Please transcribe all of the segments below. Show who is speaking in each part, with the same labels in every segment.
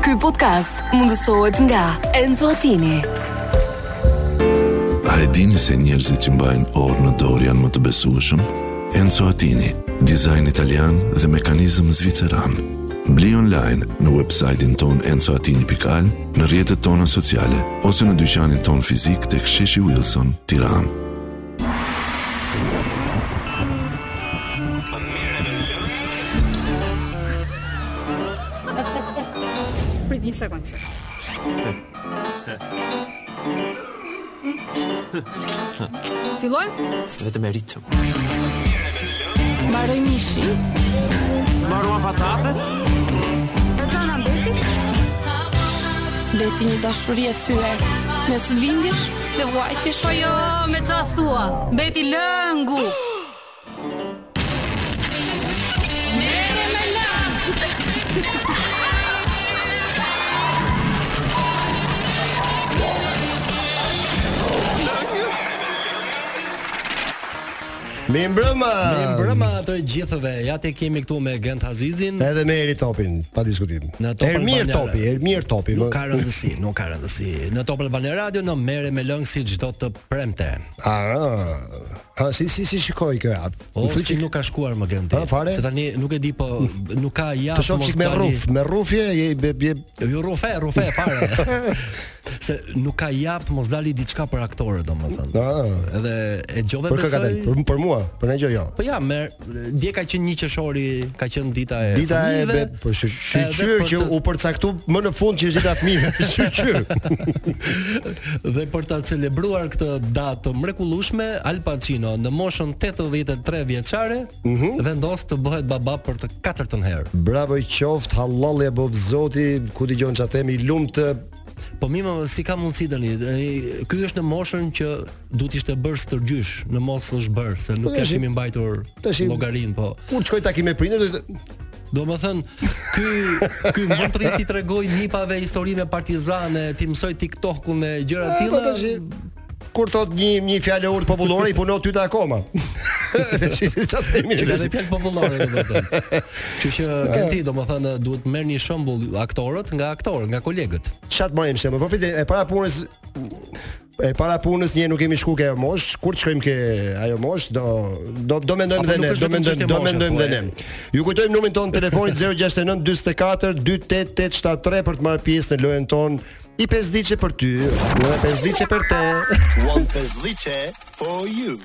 Speaker 1: Ky podcast mundësohet nga Enzo Attini.
Speaker 2: A e dini se njerëzit që mbajnë orë në dorë janë më të besueshëm? Enzo Attini, dizajn italian dhe mekanizëm zviceran. Bli online në website-in ton enzoatini.al, në rjetët tona sociale, ose në dyqanin ton fizik të ksheshi Wilson, tiran.
Speaker 3: Prit një sekundë. Fillojmë?
Speaker 4: vetëm e ritëm.
Speaker 3: Mbaroj mishi.
Speaker 4: Marua patatet?
Speaker 3: Në gjana beti? Beti një dashuri e thyer mes lindjesh dhe vuajtjesh. Po jo, me qa thua? Beti lëngu. Mere me lëng.
Speaker 5: Mi mbrëma.
Speaker 6: Mirë mbrëma të gjithëve. Ja te kemi këtu me Gent Hazizin.
Speaker 5: Edhe me Eri Topin, pa diskutim.
Speaker 6: Në Top
Speaker 5: Ermir
Speaker 6: Albania.
Speaker 5: Topi, Ermir Topi.
Speaker 6: Nuk
Speaker 5: më-
Speaker 6: ka rëndësi, nuk ka rëndësi. Në Top Albania Radio në merre me lëng si çdo të premte.
Speaker 5: A, a, ha, si si si shikoj kë atë.
Speaker 6: O Po, si nuk ka shkuar më Genti.
Speaker 5: Ha, fare?
Speaker 6: Se tani nuk e di po nuk ka ja.
Speaker 5: Të shoh çik me rruf, me rrufje je je, je
Speaker 6: Jo rrufe, rrufe fare. se nuk ka jap të mos dali diçka për aktorë domethënë.
Speaker 5: a,
Speaker 6: Edhe e gjove
Speaker 5: për kë ka
Speaker 6: besoj.
Speaker 5: del? Për, për mua, për ne gjë jo.
Speaker 6: Po ja, mer, dje ka qenë një qeshori, ka qenë dita e
Speaker 5: Dita e
Speaker 6: fëmijëve,
Speaker 5: be, po, për shqy-
Speaker 6: edhe
Speaker 5: shqyqyr
Speaker 6: për
Speaker 5: që
Speaker 6: të-
Speaker 5: u përcaktu më në fund që është dita e fëmijëve, shqyqyr.
Speaker 6: Dhe për ta celebruar këtë datë të mrekullueshme, Al Pacino në moshën 83 vjeçare
Speaker 5: Mhm.
Speaker 6: vendos të bëhet baba për të katërtën herë.
Speaker 5: Bravo i qoftë, hallalli e bov Zoti, ku dëgjon çfarë themi, lumt të
Speaker 6: Po mima si ka mundësi tani? Tani, Ky është në moshën që duhet ishte bërë stërgjysh, në mos është bërë, se nuk
Speaker 5: Po,
Speaker 6: e
Speaker 5: tashi-
Speaker 6: kemi mbajtur
Speaker 5: tashi-
Speaker 6: llogarin, po.
Speaker 5: kur shkoj takim me prindër, do të-
Speaker 6: Do më thënë, ky, ky më të rriti të regoj nipave historive partizane, ti mësoj TikTokun e gjëra
Speaker 5: E, po
Speaker 6: tilla.
Speaker 5: tash, kur thot një një fjalë urt popullore i punon ty ta akoma. Tash, Çfarë themi ne
Speaker 6: Që ka
Speaker 5: tash?
Speaker 6: dhe fjalë popullore domethënë. Kështu që Genti domethënë duhet merr një shembull aktorët nga aktorët, nga kolegët.
Speaker 5: Çat marrim se, po pritet e para punës e para punës një nuk kemi shku ke ajo mosh, kur të shkojmë ke ajo mosh do do do mendojmë
Speaker 6: Apo
Speaker 5: dhe
Speaker 6: nuk
Speaker 5: ne,
Speaker 6: është
Speaker 5: do
Speaker 6: vetëm
Speaker 5: mendojmë,
Speaker 6: çështje
Speaker 5: do
Speaker 6: moshe,
Speaker 5: mendojmë
Speaker 6: po,
Speaker 5: dhe ne.
Speaker 6: e-
Speaker 5: Ju kujtojmë numrin tonë telefonit 069 44 28873 për të marrë pjesë në lojën tonë i pesdiçe për ty, në pesdiçe për te.
Speaker 7: One pesdhice for you.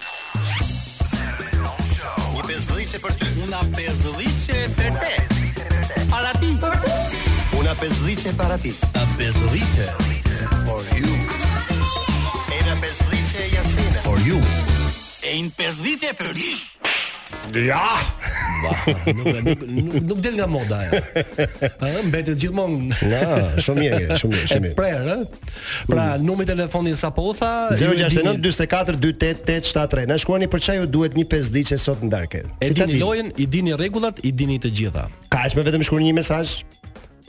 Speaker 7: Një pesdhice për ty. Una pesdhice për te. Para ti. Una pesdhice para ti.
Speaker 6: A bezëllite
Speaker 7: For you. Ena pesdhice jasena.
Speaker 6: for you.
Speaker 7: E një pesdhice për ti.
Speaker 5: Ja,
Speaker 6: Ba, nuk, nuk, nuk, nuk del nga moda ajo. Ëh, mbetet gjithmonë
Speaker 5: na, shumë mirë, ke, shumë mirë,
Speaker 6: e
Speaker 5: shumë Mm. mirë.
Speaker 6: prerë, ë? Pra, numri i telefonit sa po u tha, ju e
Speaker 5: 069
Speaker 6: dini-
Speaker 5: 44 28873. Na shkruani për çaj ju duhet një pesdiçe sot në darkë.
Speaker 6: E dini lojën, i dini rregullat, i dini të gjitha.
Speaker 5: Kaq me vetëm shkruani një mesazh.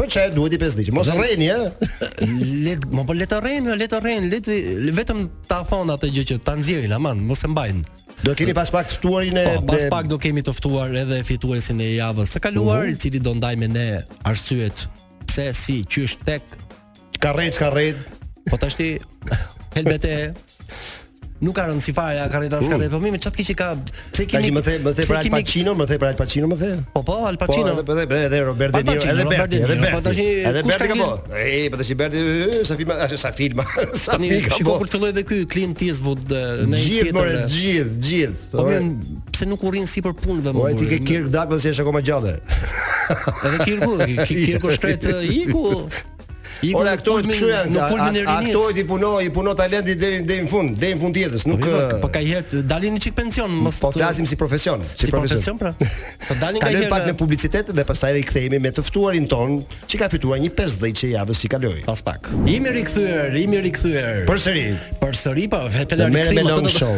Speaker 5: Për çaj duhet i pesdiçe. Mos rreni, ë.
Speaker 6: Let, mo po le të rrenë, le të rrenë, le të- vetëm ta thon atë gjë që ta nxjerrin, aman, mos e mbajnë.
Speaker 5: Do keni pas pak ftuarin e
Speaker 6: Po, pas
Speaker 5: e-
Speaker 6: pak do kemi të ftuar edhe fituesin e javës së kaluar, i cili do ndaj me ne arsyet pse si qysh tek,
Speaker 5: karrec karrec.
Speaker 6: po tash ti helbete nuk ka rëndësi fare ja karreta s'ka rëndësi, po mi me çat kiçi ka pse
Speaker 5: Tash
Speaker 6: kemi
Speaker 5: më the më the
Speaker 6: pse
Speaker 5: për Al
Speaker 6: kemi-
Speaker 5: Pacino, më the për Al Pacino, më the.
Speaker 6: Po po, Al
Speaker 5: Po,
Speaker 6: Pacino.
Speaker 5: edhe edhe edhe Robert De
Speaker 6: Al
Speaker 5: Niro,
Speaker 6: Pacino,
Speaker 5: edhe
Speaker 6: Robert
Speaker 5: Berti,
Speaker 6: De
Speaker 5: edhe
Speaker 6: Niro, po
Speaker 5: Berti.
Speaker 6: tash i-
Speaker 5: Edhe
Speaker 6: kush
Speaker 5: Berti
Speaker 6: ka
Speaker 5: ka po.
Speaker 6: ngel-
Speaker 5: Ej, po tash i Berti, ë, sa filma, ë, sa filma, sa
Speaker 6: Tani
Speaker 5: filma ka
Speaker 6: shiko
Speaker 5: po.
Speaker 6: kur filloi edhe ky Clint Eastwood e, në një
Speaker 5: Gjithë
Speaker 6: tjetër,
Speaker 5: more,
Speaker 6: e,
Speaker 5: gjithë, gjithë.
Speaker 6: Po
Speaker 5: Ore,
Speaker 6: mi pse nuk u rrin sipër punëve më.
Speaker 5: Ore ti ke
Speaker 6: burë?
Speaker 5: Kirk Douglas që është akoma gjallë.
Speaker 6: Edhe Kirku, ki- Kirku shkret e, iku. Iku
Speaker 5: Ora
Speaker 6: në
Speaker 5: aktorët
Speaker 6: kulmin-
Speaker 5: kështu janë,
Speaker 6: në
Speaker 5: a-
Speaker 6: kulmin e
Speaker 5: a-
Speaker 6: rinisë.
Speaker 5: aktorët i punoj, i punon talenti deri deri në fund, deri në fund jetës, nuk
Speaker 6: Po,
Speaker 5: ë,
Speaker 6: Po ka herë dalin një çik pension, mos
Speaker 5: po
Speaker 6: të-
Speaker 5: flasim si profesion,
Speaker 6: si profesion pra. Po dalin nga
Speaker 5: Kalojmë
Speaker 6: herë.
Speaker 5: pak në publicitet dhe pastaj rikthehemi me të ftuarin ton që ka fituar një 50 që javës që kaloi.
Speaker 6: Pas pak. Jemi rikthyer, jemi rikthyer.
Speaker 5: Përsëri,
Speaker 6: Përsëri po vetë
Speaker 5: Dhe merrem me long show.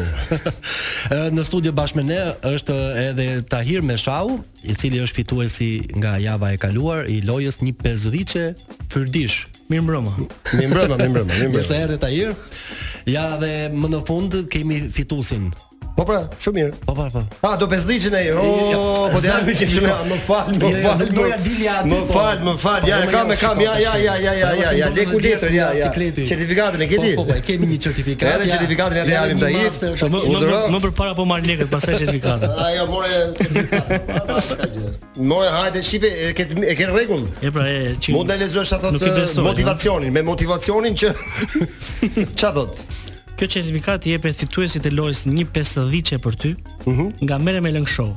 Speaker 6: Ë, në studio bashkë me ne është edhe Tahir Meshau, i cili është fituesi nga java e kaluar i lojës 150 fyrdish.
Speaker 8: Mirë mbrëma.
Speaker 5: mi mbrëma, mi mbrëma, mi
Speaker 6: Mirë se
Speaker 5: mbrëma.
Speaker 6: erdhe Tahir. Ja dhe më në fund kemi fituesin
Speaker 5: Po pra, shumë mirë.
Speaker 6: Po po po.
Speaker 5: A do pesdhiçin ai. O,
Speaker 6: Ja,
Speaker 5: po ti jam
Speaker 6: s'dam jo. që
Speaker 5: shumë. Më fal, më
Speaker 6: Jo, jo,
Speaker 5: fal.
Speaker 6: nuk doja
Speaker 5: më-
Speaker 6: dilja aty,
Speaker 5: Më
Speaker 6: po.
Speaker 5: fal, më fal. Ja, e
Speaker 6: Po, më
Speaker 5: kam,
Speaker 6: jo,
Speaker 5: e kam. Ja,
Speaker 6: shiko,
Speaker 5: ja, ja, ja, ja,
Speaker 6: Po,
Speaker 5: ja,
Speaker 6: mos
Speaker 5: ja.
Speaker 6: më
Speaker 5: Leku
Speaker 6: bëni dhjetë
Speaker 5: letër, ja,
Speaker 6: nga
Speaker 5: ja.
Speaker 6: cikleti.
Speaker 5: Certifikatën e ke ti?
Speaker 6: Po po, e kemi një certifikat.
Speaker 5: Edhe certifikatën ja të japim të hit.
Speaker 8: Sa më më,
Speaker 5: Udhëro.
Speaker 8: më përpara po marr lekët, pastaj certifikatën.
Speaker 5: Ajo more More hajde shipe, e ke e ke rregull.
Speaker 8: E pra, e që
Speaker 5: Mund ta lexosh ato
Speaker 8: Nuk i besoj,
Speaker 5: motivacionin, me motivacionin që ç'a thot?
Speaker 8: Kjo certifikat i jepet fituesit e lojës një 50 për ty nga Merre me Lëng Show,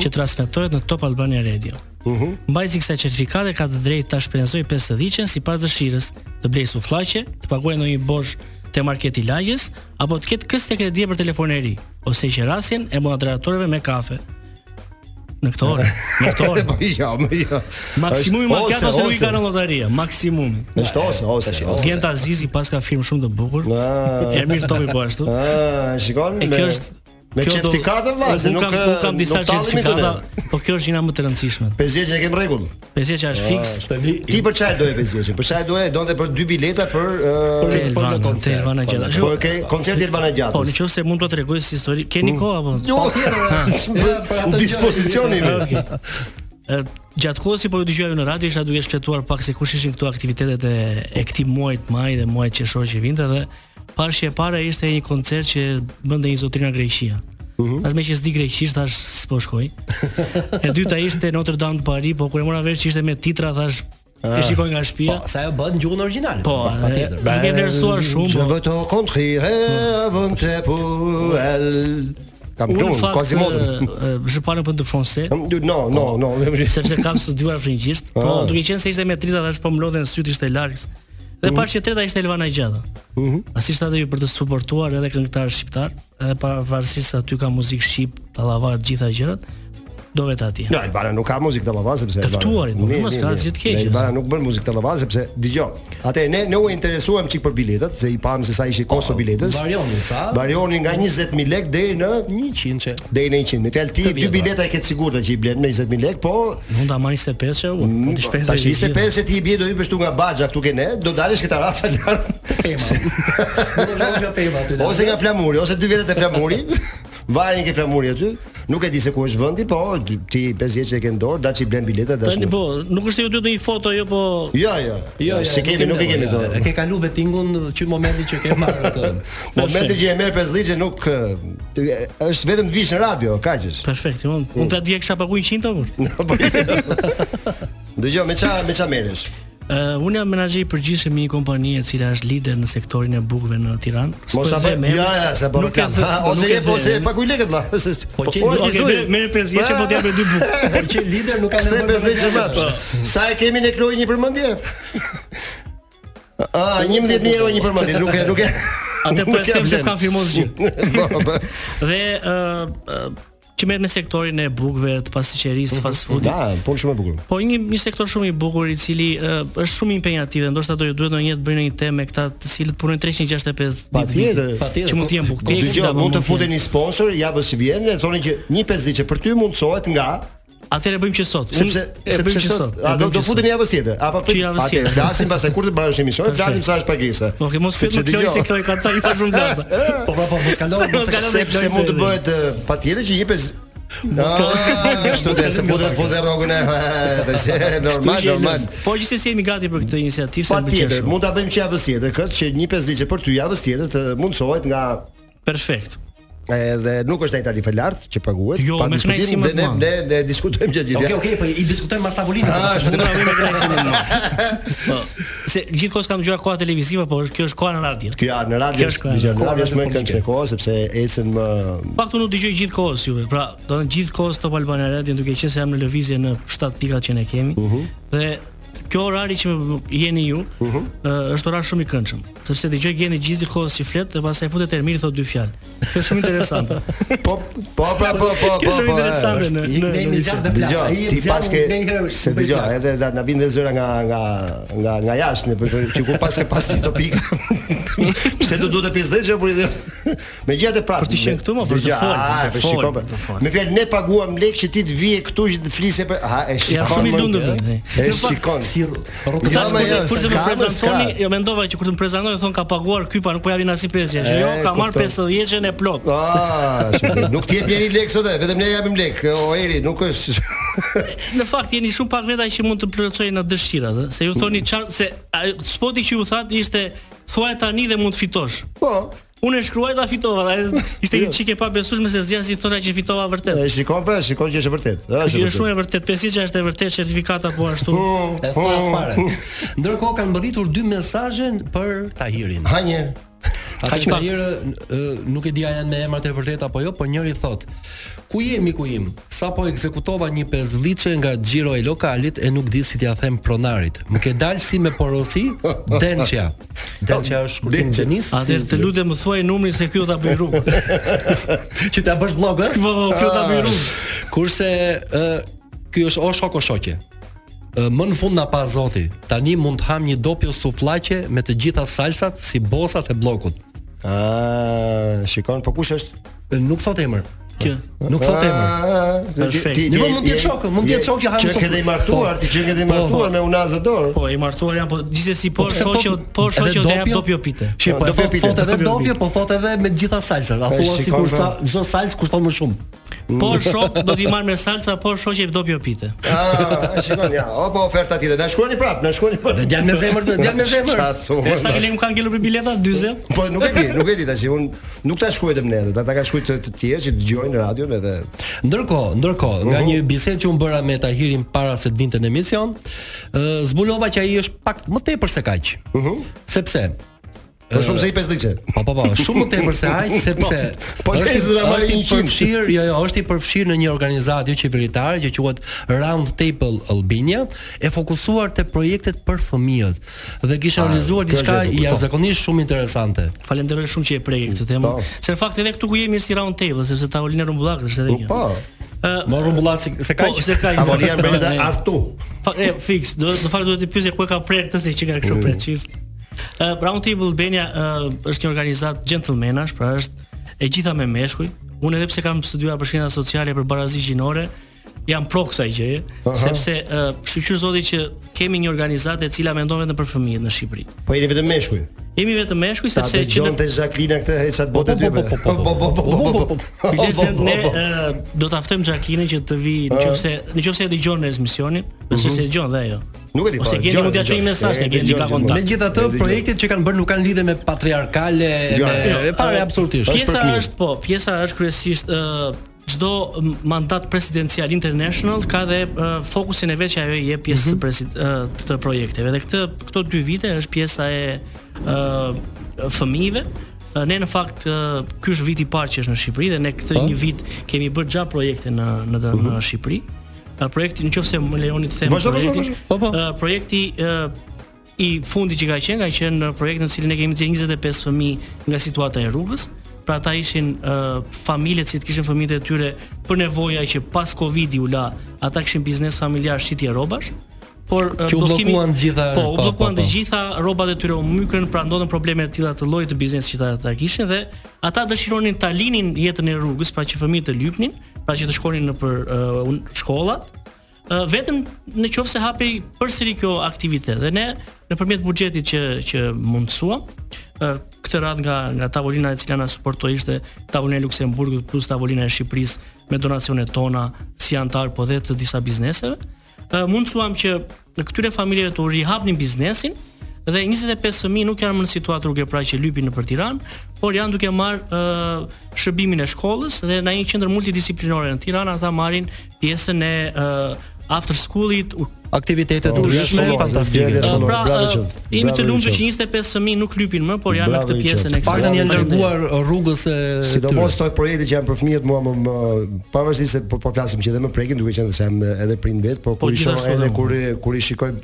Speaker 8: që transmetohet në Top Albania Radio. Uhum. Mbajtësi kësaj certifikate ka të drejtë ta shpenzoj 50-ën sipas dëshirës, të blej sufllaqe, të paguaj ndonjë borxh te marketi i lagjes apo të ketë këste kredie për telefon e ri ose qerasjen e moderatorëve me kafe. Në këtë orë, në këtë orë.
Speaker 5: Po jo, më jo.
Speaker 8: Maksimumi ma
Speaker 5: Është
Speaker 8: kjatë ose nuk i
Speaker 5: ose.
Speaker 8: kanë lotaria, maksimumi.
Speaker 5: Është ose, ose, ose.
Speaker 8: Gent Azizi pas ka film shumë të bukur.
Speaker 5: Ah.
Speaker 8: Ermir Topi po ashtu.
Speaker 5: Ah, shikon?
Speaker 8: E
Speaker 5: me-
Speaker 8: kjo është
Speaker 5: me
Speaker 8: kjo do-
Speaker 5: certifikatën, vlla, se
Speaker 8: unë
Speaker 5: nuk,
Speaker 8: kam,
Speaker 5: eh,
Speaker 8: unë kam disa
Speaker 5: nuk tallim i
Speaker 8: certifikata,
Speaker 5: këtyre.
Speaker 8: po kjo është gjëna më të rëndësishme.
Speaker 5: 50 e kem rregull.
Speaker 8: Pesi që
Speaker 5: Ah,
Speaker 8: është fiks.
Speaker 6: Tani
Speaker 5: Ti për çfarë doje 50? Për çfarë doje? Donte për dy bileta për
Speaker 8: Te
Speaker 5: ë,
Speaker 8: Elvana, te Elvana gjëra.
Speaker 5: po ke koncerti Elbana
Speaker 8: Po, në
Speaker 5: Gjatës.
Speaker 8: qoftë se mund të tregoj si histori, keni kohë apo? Po.
Speaker 5: Jo,
Speaker 6: atë
Speaker 5: dispozicioni
Speaker 8: Ah,
Speaker 5: mi.
Speaker 8: Okej. Ë, Gjatë kohës si po ju dëgjoja ju në radio isha duke shpjetuar pak se kush ishin këto aktivitetet e, e këtij muaji të maj dhe muajit qershor që vinte dhe pashje e para ishte një koncert që bënte një zotrina greqia. Uhum. Tash me që s'di greqisht thash s'po shkoj. E dyta ishte Notre Dame de Paris, po kur e mora vesh që ishte me titra thash e shikoj nga shtëpia.
Speaker 6: Po, sa ajo bëhet në gjuhën origjinale.
Speaker 8: Ah. Po, e-
Speaker 6: patjetër.
Speaker 8: nuk e vlerësuar shumë.
Speaker 5: Je
Speaker 8: po.
Speaker 5: veux te rencontrer avant te pour elle. Kam
Speaker 8: Unë në
Speaker 5: plumb,
Speaker 8: fakt,
Speaker 5: quasi modën.
Speaker 8: po ë, ë, je parle un peu de français.
Speaker 5: No, no,
Speaker 8: Po.
Speaker 5: no.
Speaker 8: sepse kam studiuar frëngjisht, po
Speaker 5: Ah.
Speaker 8: duke qenë se ishte me trita tash po mlodhen syt ishte larg.
Speaker 5: Mhm.
Speaker 8: Dhe mm. pashë treta ishte Elvana Gjata. Mhm. Mm Asi ishte aty për të suportuar edhe këngëtar shqiptar, edhe pavarësisht se aty ka muzikë shqip, pallava të gjitha gjërat, do vetë atje.
Speaker 5: Ja, Elbana nuk ka muzikë të lavaz sepse Elbana-
Speaker 8: ftuarit, nuk
Speaker 5: Mirë,
Speaker 8: mos
Speaker 5: mirë,
Speaker 8: ka
Speaker 5: mirë.
Speaker 8: asgjë të keqe.
Speaker 5: Dhe Elbana nuk bën muzikë të lavaz sepse dëgjoj. Atë ne ne u interesuam çik për biletat, se i pam se sa ishi
Speaker 8: Oh,
Speaker 5: kosto biletës.
Speaker 6: Varioni ca?
Speaker 5: Varioni nga 20000 lekë deri në
Speaker 6: 100 që.
Speaker 5: deri në 100. Me fjalë ti dy
Speaker 6: vjetra.
Speaker 5: bileta e ke të sigurta që i blen me 20000 lekë, po
Speaker 8: Mund ta marr 25 që u,
Speaker 5: Mm,
Speaker 8: po të shpenzoj.
Speaker 5: Tash 25 e ti i bie do i bështu nga Baxha këtu ke ne, do dalesh këtë raca lart.
Speaker 6: Tema. Nga tema aty. la.
Speaker 5: Ose nga Flamuri, ose dy vjetët e Flamuri. Varin ke Flamuri aty. Nuk e di se ku është vendi, po ti 50 që e ke në dorë, daç i blen biletat dash.
Speaker 8: Tani
Speaker 5: nuk-
Speaker 8: po, nuk është se ju duhet ndonjë foto jo po
Speaker 5: Jo, jo.
Speaker 6: Jo, jo,
Speaker 5: si kemi, nuk e kemi
Speaker 6: nevojë. E
Speaker 5: këto.
Speaker 6: ke kalu vetingun që momentin që ke marrë atë.
Speaker 5: Momenti që e merr pesdhiçe nuk ë, është vetëm të vish në radio, kaq është.
Speaker 8: perfekt. Unë unë
Speaker 5: Mm.
Speaker 8: ta dje kisha paguaj 100 apo?
Speaker 5: Dëgjoj me ça me ça merresh.
Speaker 8: Uh, unë jam menaxher i përgjithshëm i një kompanie e cila është lider në sektorin e bukëve në Tiranë.
Speaker 5: Mos
Speaker 8: S'po e
Speaker 5: sa bë.
Speaker 8: them emrin.
Speaker 5: Ja, ja, se po
Speaker 8: Po, Nuk e
Speaker 5: reklam.
Speaker 8: the-
Speaker 5: Ha,
Speaker 8: po
Speaker 5: Ose
Speaker 8: nuk
Speaker 5: je
Speaker 8: e
Speaker 5: po
Speaker 8: the
Speaker 5: se
Speaker 8: emrin.
Speaker 5: pa ku i lekët vlla.
Speaker 6: Po që-
Speaker 5: ore, ti
Speaker 8: Okej,
Speaker 5: duj.
Speaker 8: merr- merr 50 që po t'jap me dy bukë.
Speaker 6: Por që lider nuk ka
Speaker 5: Kthej
Speaker 6: nevojë.
Speaker 5: 50 mbrapa. Sa e kemi ne Kloj një përmendje? Ah, 11000 euro një përmendje, nuk e nuk e.
Speaker 8: Atë po
Speaker 5: nuk
Speaker 8: e them se
Speaker 5: blen.
Speaker 8: s'kan firmuar zgjidhje.
Speaker 5: Po, po.
Speaker 8: Dhe ë ë, që merret me sektorin e bukëve, të pastiqerisë, të fast foodit.
Speaker 5: Da, punë shumë e bukur.
Speaker 8: Po një, një sektor shumë i bukur i cili ë, është shumë impenjativ dhe ndoshta do ju duhet ndonjëherë të bëjnë një temë me këta të cilët punojnë 365 ditë.
Speaker 5: Patjetër.
Speaker 8: vitit,
Speaker 6: Patjetër,
Speaker 8: Që mund të jenë
Speaker 6: po-
Speaker 8: bukë.
Speaker 5: Dëgjoj, mund të futen një sponsor javës që vjen dhe thonin që një pesdhiçe për ty mundsohet nga
Speaker 8: Atëherë bëjmë që sot. Unë
Speaker 5: sepse
Speaker 8: Mm, e bëjmë
Speaker 5: sepse
Speaker 8: që
Speaker 5: sot
Speaker 8: e
Speaker 5: a do
Speaker 8: bëjmë
Speaker 5: do
Speaker 8: që
Speaker 5: futen
Speaker 8: sot.
Speaker 5: javës tjetër apo
Speaker 8: Që javës
Speaker 5: atë
Speaker 8: tjetër.
Speaker 5: flasim pastaj kur të bëhesh emision,
Speaker 8: Perfekt.
Speaker 5: flasim sa është pagesa.
Speaker 8: Okej, mos flet
Speaker 5: Sepse
Speaker 8: më Kloj
Speaker 5: dëgjoj,
Speaker 8: se Kloj ka ta i thash shumë gata.
Speaker 6: Po po po mos kalon.
Speaker 8: Mos kalon.
Speaker 5: Sepse mund të bëhet eh, patjetër që jepes Ah, ashtu të se futet futet rrogën e dhe se normal normal.
Speaker 8: Po gjithsesi jemi gati për këtë iniciativë se
Speaker 5: Pa
Speaker 8: më pëlqen
Speaker 5: tjetër,
Speaker 8: shumë.
Speaker 5: mund ta bëjmë që javës tjetër këtë që një pesdhiçe për ty javës tjetër të mundsohet nga
Speaker 8: Perfekt.
Speaker 5: edhe nuk është ai tarifë e lartë që paguhet,
Speaker 8: Jo,
Speaker 5: pa
Speaker 8: me
Speaker 5: diskutim
Speaker 8: knajësi më
Speaker 5: dhe
Speaker 8: të
Speaker 5: ne
Speaker 8: madhe.
Speaker 5: ne, ne diskutojmë gjatë
Speaker 6: Okej,
Speaker 5: gjithë.
Speaker 6: okej, po i diskutojmë pas tavolinës.
Speaker 5: Ah,
Speaker 8: Unë na vjen me krajsin e mua. Po, se gjithkohës kam dëgjuar koha televizive, po kjo është koha në radio.
Speaker 5: Kjo ja, në radio
Speaker 8: Kjo është
Speaker 5: është dëgjoj, në
Speaker 8: koha
Speaker 5: radio është më
Speaker 6: radiofonike.
Speaker 5: këndshme kohë sepse ecën më
Speaker 8: Pak unë nuk dëgjoj gjithkohës juve. Pra, do të thënë gjithkohës Top Albania Radio, duke qenë se jam në lëvizje në 7 pikat që ne kemi.
Speaker 5: Mhm.
Speaker 8: Dhe kjo orari që jeni ju, ë, është orar shumë i këndshëm, sepse dëgjoj gjeni gjithkohës si flet dhe pastaj futet Ermiri thotë dy fjalë. Kjo është shumë interesante.
Speaker 5: po po pra po po po
Speaker 8: Kjo është shumë
Speaker 5: po.
Speaker 8: interesante
Speaker 5: e,
Speaker 8: në
Speaker 6: i
Speaker 8: në-
Speaker 6: kemi
Speaker 8: në
Speaker 6: zjarr
Speaker 8: bisedë.
Speaker 6: dhe flas.
Speaker 5: Dëgjoj,
Speaker 6: Ai
Speaker 5: ti
Speaker 6: zjarr
Speaker 5: paske
Speaker 6: një herë
Speaker 5: se
Speaker 6: bëj
Speaker 5: dëgjoj,
Speaker 6: plak.
Speaker 5: edhe da na vjen dhe zëra nga nga po nga nga nga jashtë, ne për ti kur paske pas këto pika. Pse do duhet të pjesë dhëgjë por i dhe- me gjatë e prapë.
Speaker 8: Për të qenë këtu, mo, për të
Speaker 5: Dëgjoj,
Speaker 8: folë,
Speaker 5: a,
Speaker 8: për të
Speaker 5: po
Speaker 8: folë,
Speaker 5: shiko,
Speaker 8: për të folë.
Speaker 5: Me fjalë ne paguam lek që ti të vije këtu që të flise për ha e shikon.
Speaker 8: Ja shumë i
Speaker 5: mo,
Speaker 8: lundur
Speaker 5: e?
Speaker 8: bëj.
Speaker 5: E shikon.
Speaker 6: Si
Speaker 5: Ja,
Speaker 8: Thash,
Speaker 5: ma,
Speaker 8: kur
Speaker 5: ja,
Speaker 8: të- kur të
Speaker 5: s'ka,
Speaker 8: më
Speaker 5: ma,
Speaker 8: prezantoni,
Speaker 5: s'ka.
Speaker 8: jo mendova që kur të më prezantoni thon ka paguar ky pa nuk po japin as i 50
Speaker 5: E,
Speaker 8: Jo, ka marr
Speaker 5: kuptoj.
Speaker 8: 50-shën e plot.
Speaker 5: Ah, shumë mirë. nuk ti jep njëri lek sot, e, vetëm ne japim lek. O eri, nuk është.
Speaker 8: Në fakt jeni shumë pak veta që mund të plotësojnë në dëshirat, ë, se ju thoni çfarë se ajo- spoti që ju that ishte thuaj tani dhe mund të fitosh.
Speaker 5: Po,
Speaker 8: Unë e shkruaj ta fitova, ta, ishte një çike pa besueshme se zgjas i thosha që fitova vërtet.
Speaker 5: e shikon pra, shikon që është e vërtet. Është
Speaker 8: Që
Speaker 5: e
Speaker 8: është shumë
Speaker 5: vërtet.
Speaker 8: e vërtet, pesisha është e vërtet certifikata po ashtu.
Speaker 6: E tha
Speaker 5: Oh.
Speaker 6: fare. Ndërkohë kanë mbërritur dy mesazhe për Tahirin.
Speaker 5: Ha një.
Speaker 6: Ata
Speaker 8: që
Speaker 6: Tahir ë, nuk e di a janë me emrat e vërtet apo jo, por njëri thot: "Ku je miku im? Sapo ekzekutova një pesdhiçe nga xhiro e lokalit e nuk di si t'ia them pronarit. Më ke dalë si me porosi Dençja." Dençja është shkurtim
Speaker 5: Dençja.
Speaker 6: Denis.
Speaker 8: Atëherë të lutem më thuaj numrin se ky do ta bëj rrugë.
Speaker 6: që t'ia bësh vlog, ë?
Speaker 8: Po, ky do ta bëj rrugë.
Speaker 6: Kurse ë ky është o shoko shoqe. Ë, Më në fund na pa Zoti. Tani mund të ham një dopjo sufllaqe me të gjitha salsat si bosat e bllokut.
Speaker 5: Ah, shikon, po kush është?
Speaker 6: Ë, Nuk thot emër.
Speaker 8: Kjo.
Speaker 6: Nuk thot emër.
Speaker 8: Perfekt.
Speaker 6: Një po mund t'jetë shokë, mund t'jetë shokë që hajmë
Speaker 5: Që
Speaker 6: softë.
Speaker 5: ke dhe i martuar,
Speaker 6: Po.
Speaker 5: ti që ke dhe i
Speaker 6: Po,
Speaker 5: martuar
Speaker 6: po.
Speaker 5: me unazë dorë.
Speaker 8: Po, i martuar janë, po gjithsesi po
Speaker 6: pse
Speaker 8: shoqë,
Speaker 6: thot-
Speaker 8: po shoqë
Speaker 6: edhe
Speaker 8: do jap
Speaker 6: dopjo?
Speaker 8: dopjo pite.
Speaker 6: Shi, po
Speaker 5: Po,
Speaker 6: e
Speaker 5: dopjo
Speaker 6: thot,
Speaker 5: pite,
Speaker 6: thot edhe
Speaker 8: dopjo
Speaker 6: dopje,
Speaker 8: pite.
Speaker 6: po thot edhe me të gjitha salsat. A
Speaker 5: E,
Speaker 6: thua
Speaker 5: shikon,
Speaker 6: sikur sa
Speaker 5: pra.
Speaker 6: çdo salsë kushton më shumë.
Speaker 8: Po shok do t'i marr me salca, po shoqë jep dopjo pite.
Speaker 5: Ah, shikon, ja. O, po oferta tjetër. Na shkruani prapë, na shkruani prapë.
Speaker 6: Dhe djalë me zemër, dhe djalë me zemër.
Speaker 5: Qa
Speaker 8: E sa
Speaker 5: thua?
Speaker 8: keni më kanë ngelur për bileta 40?
Speaker 5: Po nuk e di, nuk e di tash. Un nuk ta shkruaj vetëm ne, edhe, ta ta ka shkruaj të, të tjerë që dëgjojnë radion edhe.
Speaker 6: Ndërkohë, ndërkohë, nga një bisedë që unë bëra me Tahirin para se të vinte në emision, ë, zbulova që ai është pak më tepër se kaq. Sepse
Speaker 5: Po shumë se i pesdhiçe.
Speaker 6: Po po po, shumë më tepër se aq sepse
Speaker 5: Po, po,
Speaker 6: është i-
Speaker 5: lezë drama
Speaker 6: është i
Speaker 5: 100.
Speaker 6: përfshirë, jo jo, është i përfshirë në një organizatë jo qeveritare që quhet Round Table Albania, e fokusuar te projektet për fëmijët dhe kishte realizuar
Speaker 5: kjo është
Speaker 6: diçka
Speaker 5: e bukur, po.
Speaker 6: jashtëzakonisht shumë interesante.
Speaker 8: Falenderoj shumë që e preke këtë temë.
Speaker 5: Po.
Speaker 8: Se në fakt edhe këtu ku jemi është si round table, sepse tavolina rumbullak është edhe kjo.
Speaker 5: Po.
Speaker 6: Më rumbulla se, se kaq.
Speaker 8: Po, se ka.
Speaker 5: Apo janë brenda artu.
Speaker 8: Fakt e fiks, do në fakt duhet të pyesë ku e ka prerë këtë se që ka
Speaker 5: Mm.
Speaker 8: kështu prerë çiz. Uh, Round Table Albania uh, është një organizatë gentlemanash, pra është e gjitha me meshkuj. Unë edhe pse kam studiuar për shkrinja sociale për barazi gjinore, jam pro kësaj gjëje, sepse uh, shqyqyr zoti që kemi një organizatë e cila mendon vetëm për fëmijët në Shqipëri.
Speaker 5: Po jeni vetëm meshkuj.
Speaker 8: Jemi vetëm meshkuj
Speaker 5: Ta
Speaker 8: sepse që
Speaker 5: dëgjonte Jacqueline këtë hecat botë dy. Po po po po po.
Speaker 8: Kujdes ne e, do ta ftojmë Jacqueline që të vi nëse nëse e dëgjon në emisionin, nëse se dëgjon dhe ajo.
Speaker 5: Nuk e di.
Speaker 8: Ose gjeni mund t'ja çojmë mesazh, ne gjeni ka
Speaker 5: Po,
Speaker 8: kontakt.
Speaker 6: Megjithatë, projektet që kanë bërë nuk kanë lidhje me patriarkale,
Speaker 5: Jo,
Speaker 6: me
Speaker 5: jo,
Speaker 6: e para
Speaker 8: Ë,
Speaker 6: absolutisht.
Speaker 5: për
Speaker 8: Pjesa
Speaker 5: fëmijë.
Speaker 8: është po, pjesa është kryesisht ë çdo m- mandat presidencial international ka dhe ë, fokusin e vet që ajo i jep pjesë mm të projekteve. Dhe këtë këto dy vite është pjesa e ë fëmijëve. Ë, Ne në fakt ë, ky është viti i parë që është në Shqipëri dhe ne këtë një vit kemi bërë gjatë projekte në në, në Shqipëri. Ë, Projekti nëse më lejoni të them
Speaker 5: Vazhdo, vazhdo,
Speaker 8: projekti.
Speaker 5: vazhdo.
Speaker 6: Po, po.
Speaker 8: ë, projekti ë, i fundi që ka qenë ka qenë në projektin në cilin ne kemi nxjerrë 25 fëmijë nga situata e rrugës. Pra ata ishin uh, familje që kishin fëmijët e tyre për nevoja që pas Covidi u la, ata kishin biznes familjar shitje rrobash. Por ë,
Speaker 6: Që u
Speaker 8: bllokimi-
Speaker 6: bllokuan të gjitha-
Speaker 8: Po, u
Speaker 6: po, po,
Speaker 8: bllokuan të
Speaker 6: po.
Speaker 8: gjitha rrobat e tyre u mykën, pra ndodhen probleme të tilla të llojit të biznesi që ata ata kishin dhe ata dëshironin ta linin jetën e rrugës, pra që fëmijët të lypnin, pra që të shkonin në për uh, un- shkollat, Ë, vetëm në qofë se hapi përsëri kjo aktivitet dhe ne nëpërmjet buxhetit që që mundsuam ë, këtë radhë nga nga tavolina e cila na suportoi ishte tavolina e Luksemburgut plus tavolina e Shqipërisë me donacionet tona si antar po dhe të disa bizneseve ë, mundsuam që në këtyre familjeve të rihapnin biznesin dhe 25 fëmijë nuk janë më në situatë rrugë pra që lypin nëpër Tiranë, por janë duke marr ë shërbimin e shkollës dhe në një qendër multidisiplinore në Tiranë ata marrin pjesën e ë after schoolit, u-
Speaker 6: Aktivitete
Speaker 5: Po,
Speaker 6: ndryshme
Speaker 5: shkollore,
Speaker 6: fantastike.
Speaker 5: gjëra shkollore.
Speaker 8: pra
Speaker 5: bravo
Speaker 8: ë,
Speaker 5: qoftë,
Speaker 8: jemi të
Speaker 5: bravo
Speaker 8: lumtur
Speaker 5: qoftë.
Speaker 8: që 25 fëmijë nuk lypin më, por janë në
Speaker 5: Bravo
Speaker 8: këtë
Speaker 5: i
Speaker 8: pjesën
Speaker 5: qoftë.
Speaker 8: e
Speaker 6: Paktën janë larguar rrugës e
Speaker 5: Sidomos këto projekte që janë për fëmijët mua më, më pavarësisht se po, po flasim që edhe më prekin duke qenë se jam edhe prind vet, po, kur i shoh
Speaker 8: gjithashtu
Speaker 5: edhe
Speaker 8: edhe
Speaker 5: kur i- kur i shikoj uh,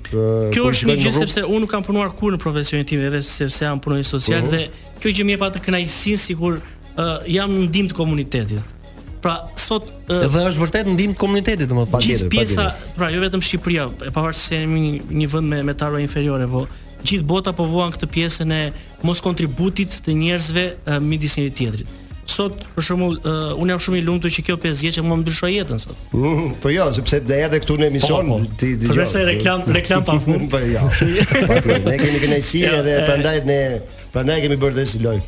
Speaker 8: Kjo
Speaker 5: kur i
Speaker 8: është
Speaker 5: shikoj
Speaker 8: një
Speaker 5: në
Speaker 8: gjë
Speaker 5: rrugë,
Speaker 8: sepse unë nuk kam punuar kur në profesionin tim edhe sepse jam punonjës social
Speaker 5: Po.
Speaker 8: dhe kjo gjë më jep atë kënaqësinë sikur uh, jam në ndihmë të komunitetit. Pra sot ë,
Speaker 6: Dhe është vërtet ndihmë të komunitetit domethënë.
Speaker 5: Pa-
Speaker 8: gjithë
Speaker 5: tjetër,
Speaker 8: pjesa, pra jo vetëm Shqipëria, e pavarësisht se jemi një- një vend me me tarra inferiore, po gjithë bota po vuan këtë pjesën e mos kontributit të njerëzve e, midis njëri tjetrit. Sot për shembull e, unë jam shumë i lumtur që kjo 5 vjeçë mua më ndryshoi jetën sot.
Speaker 5: Mhm, Po jo, sepse do erdhe këtu në emision
Speaker 8: Po, po.
Speaker 5: ti dëgjoj.
Speaker 8: Përveç se reklam- reklam pa fund.
Speaker 5: po jo. Patjetër, ne kemi kënaqësi
Speaker 8: Jo,
Speaker 5: edhe
Speaker 8: e-
Speaker 5: prandaj ne prandaj kemi bërë dhe si lojë.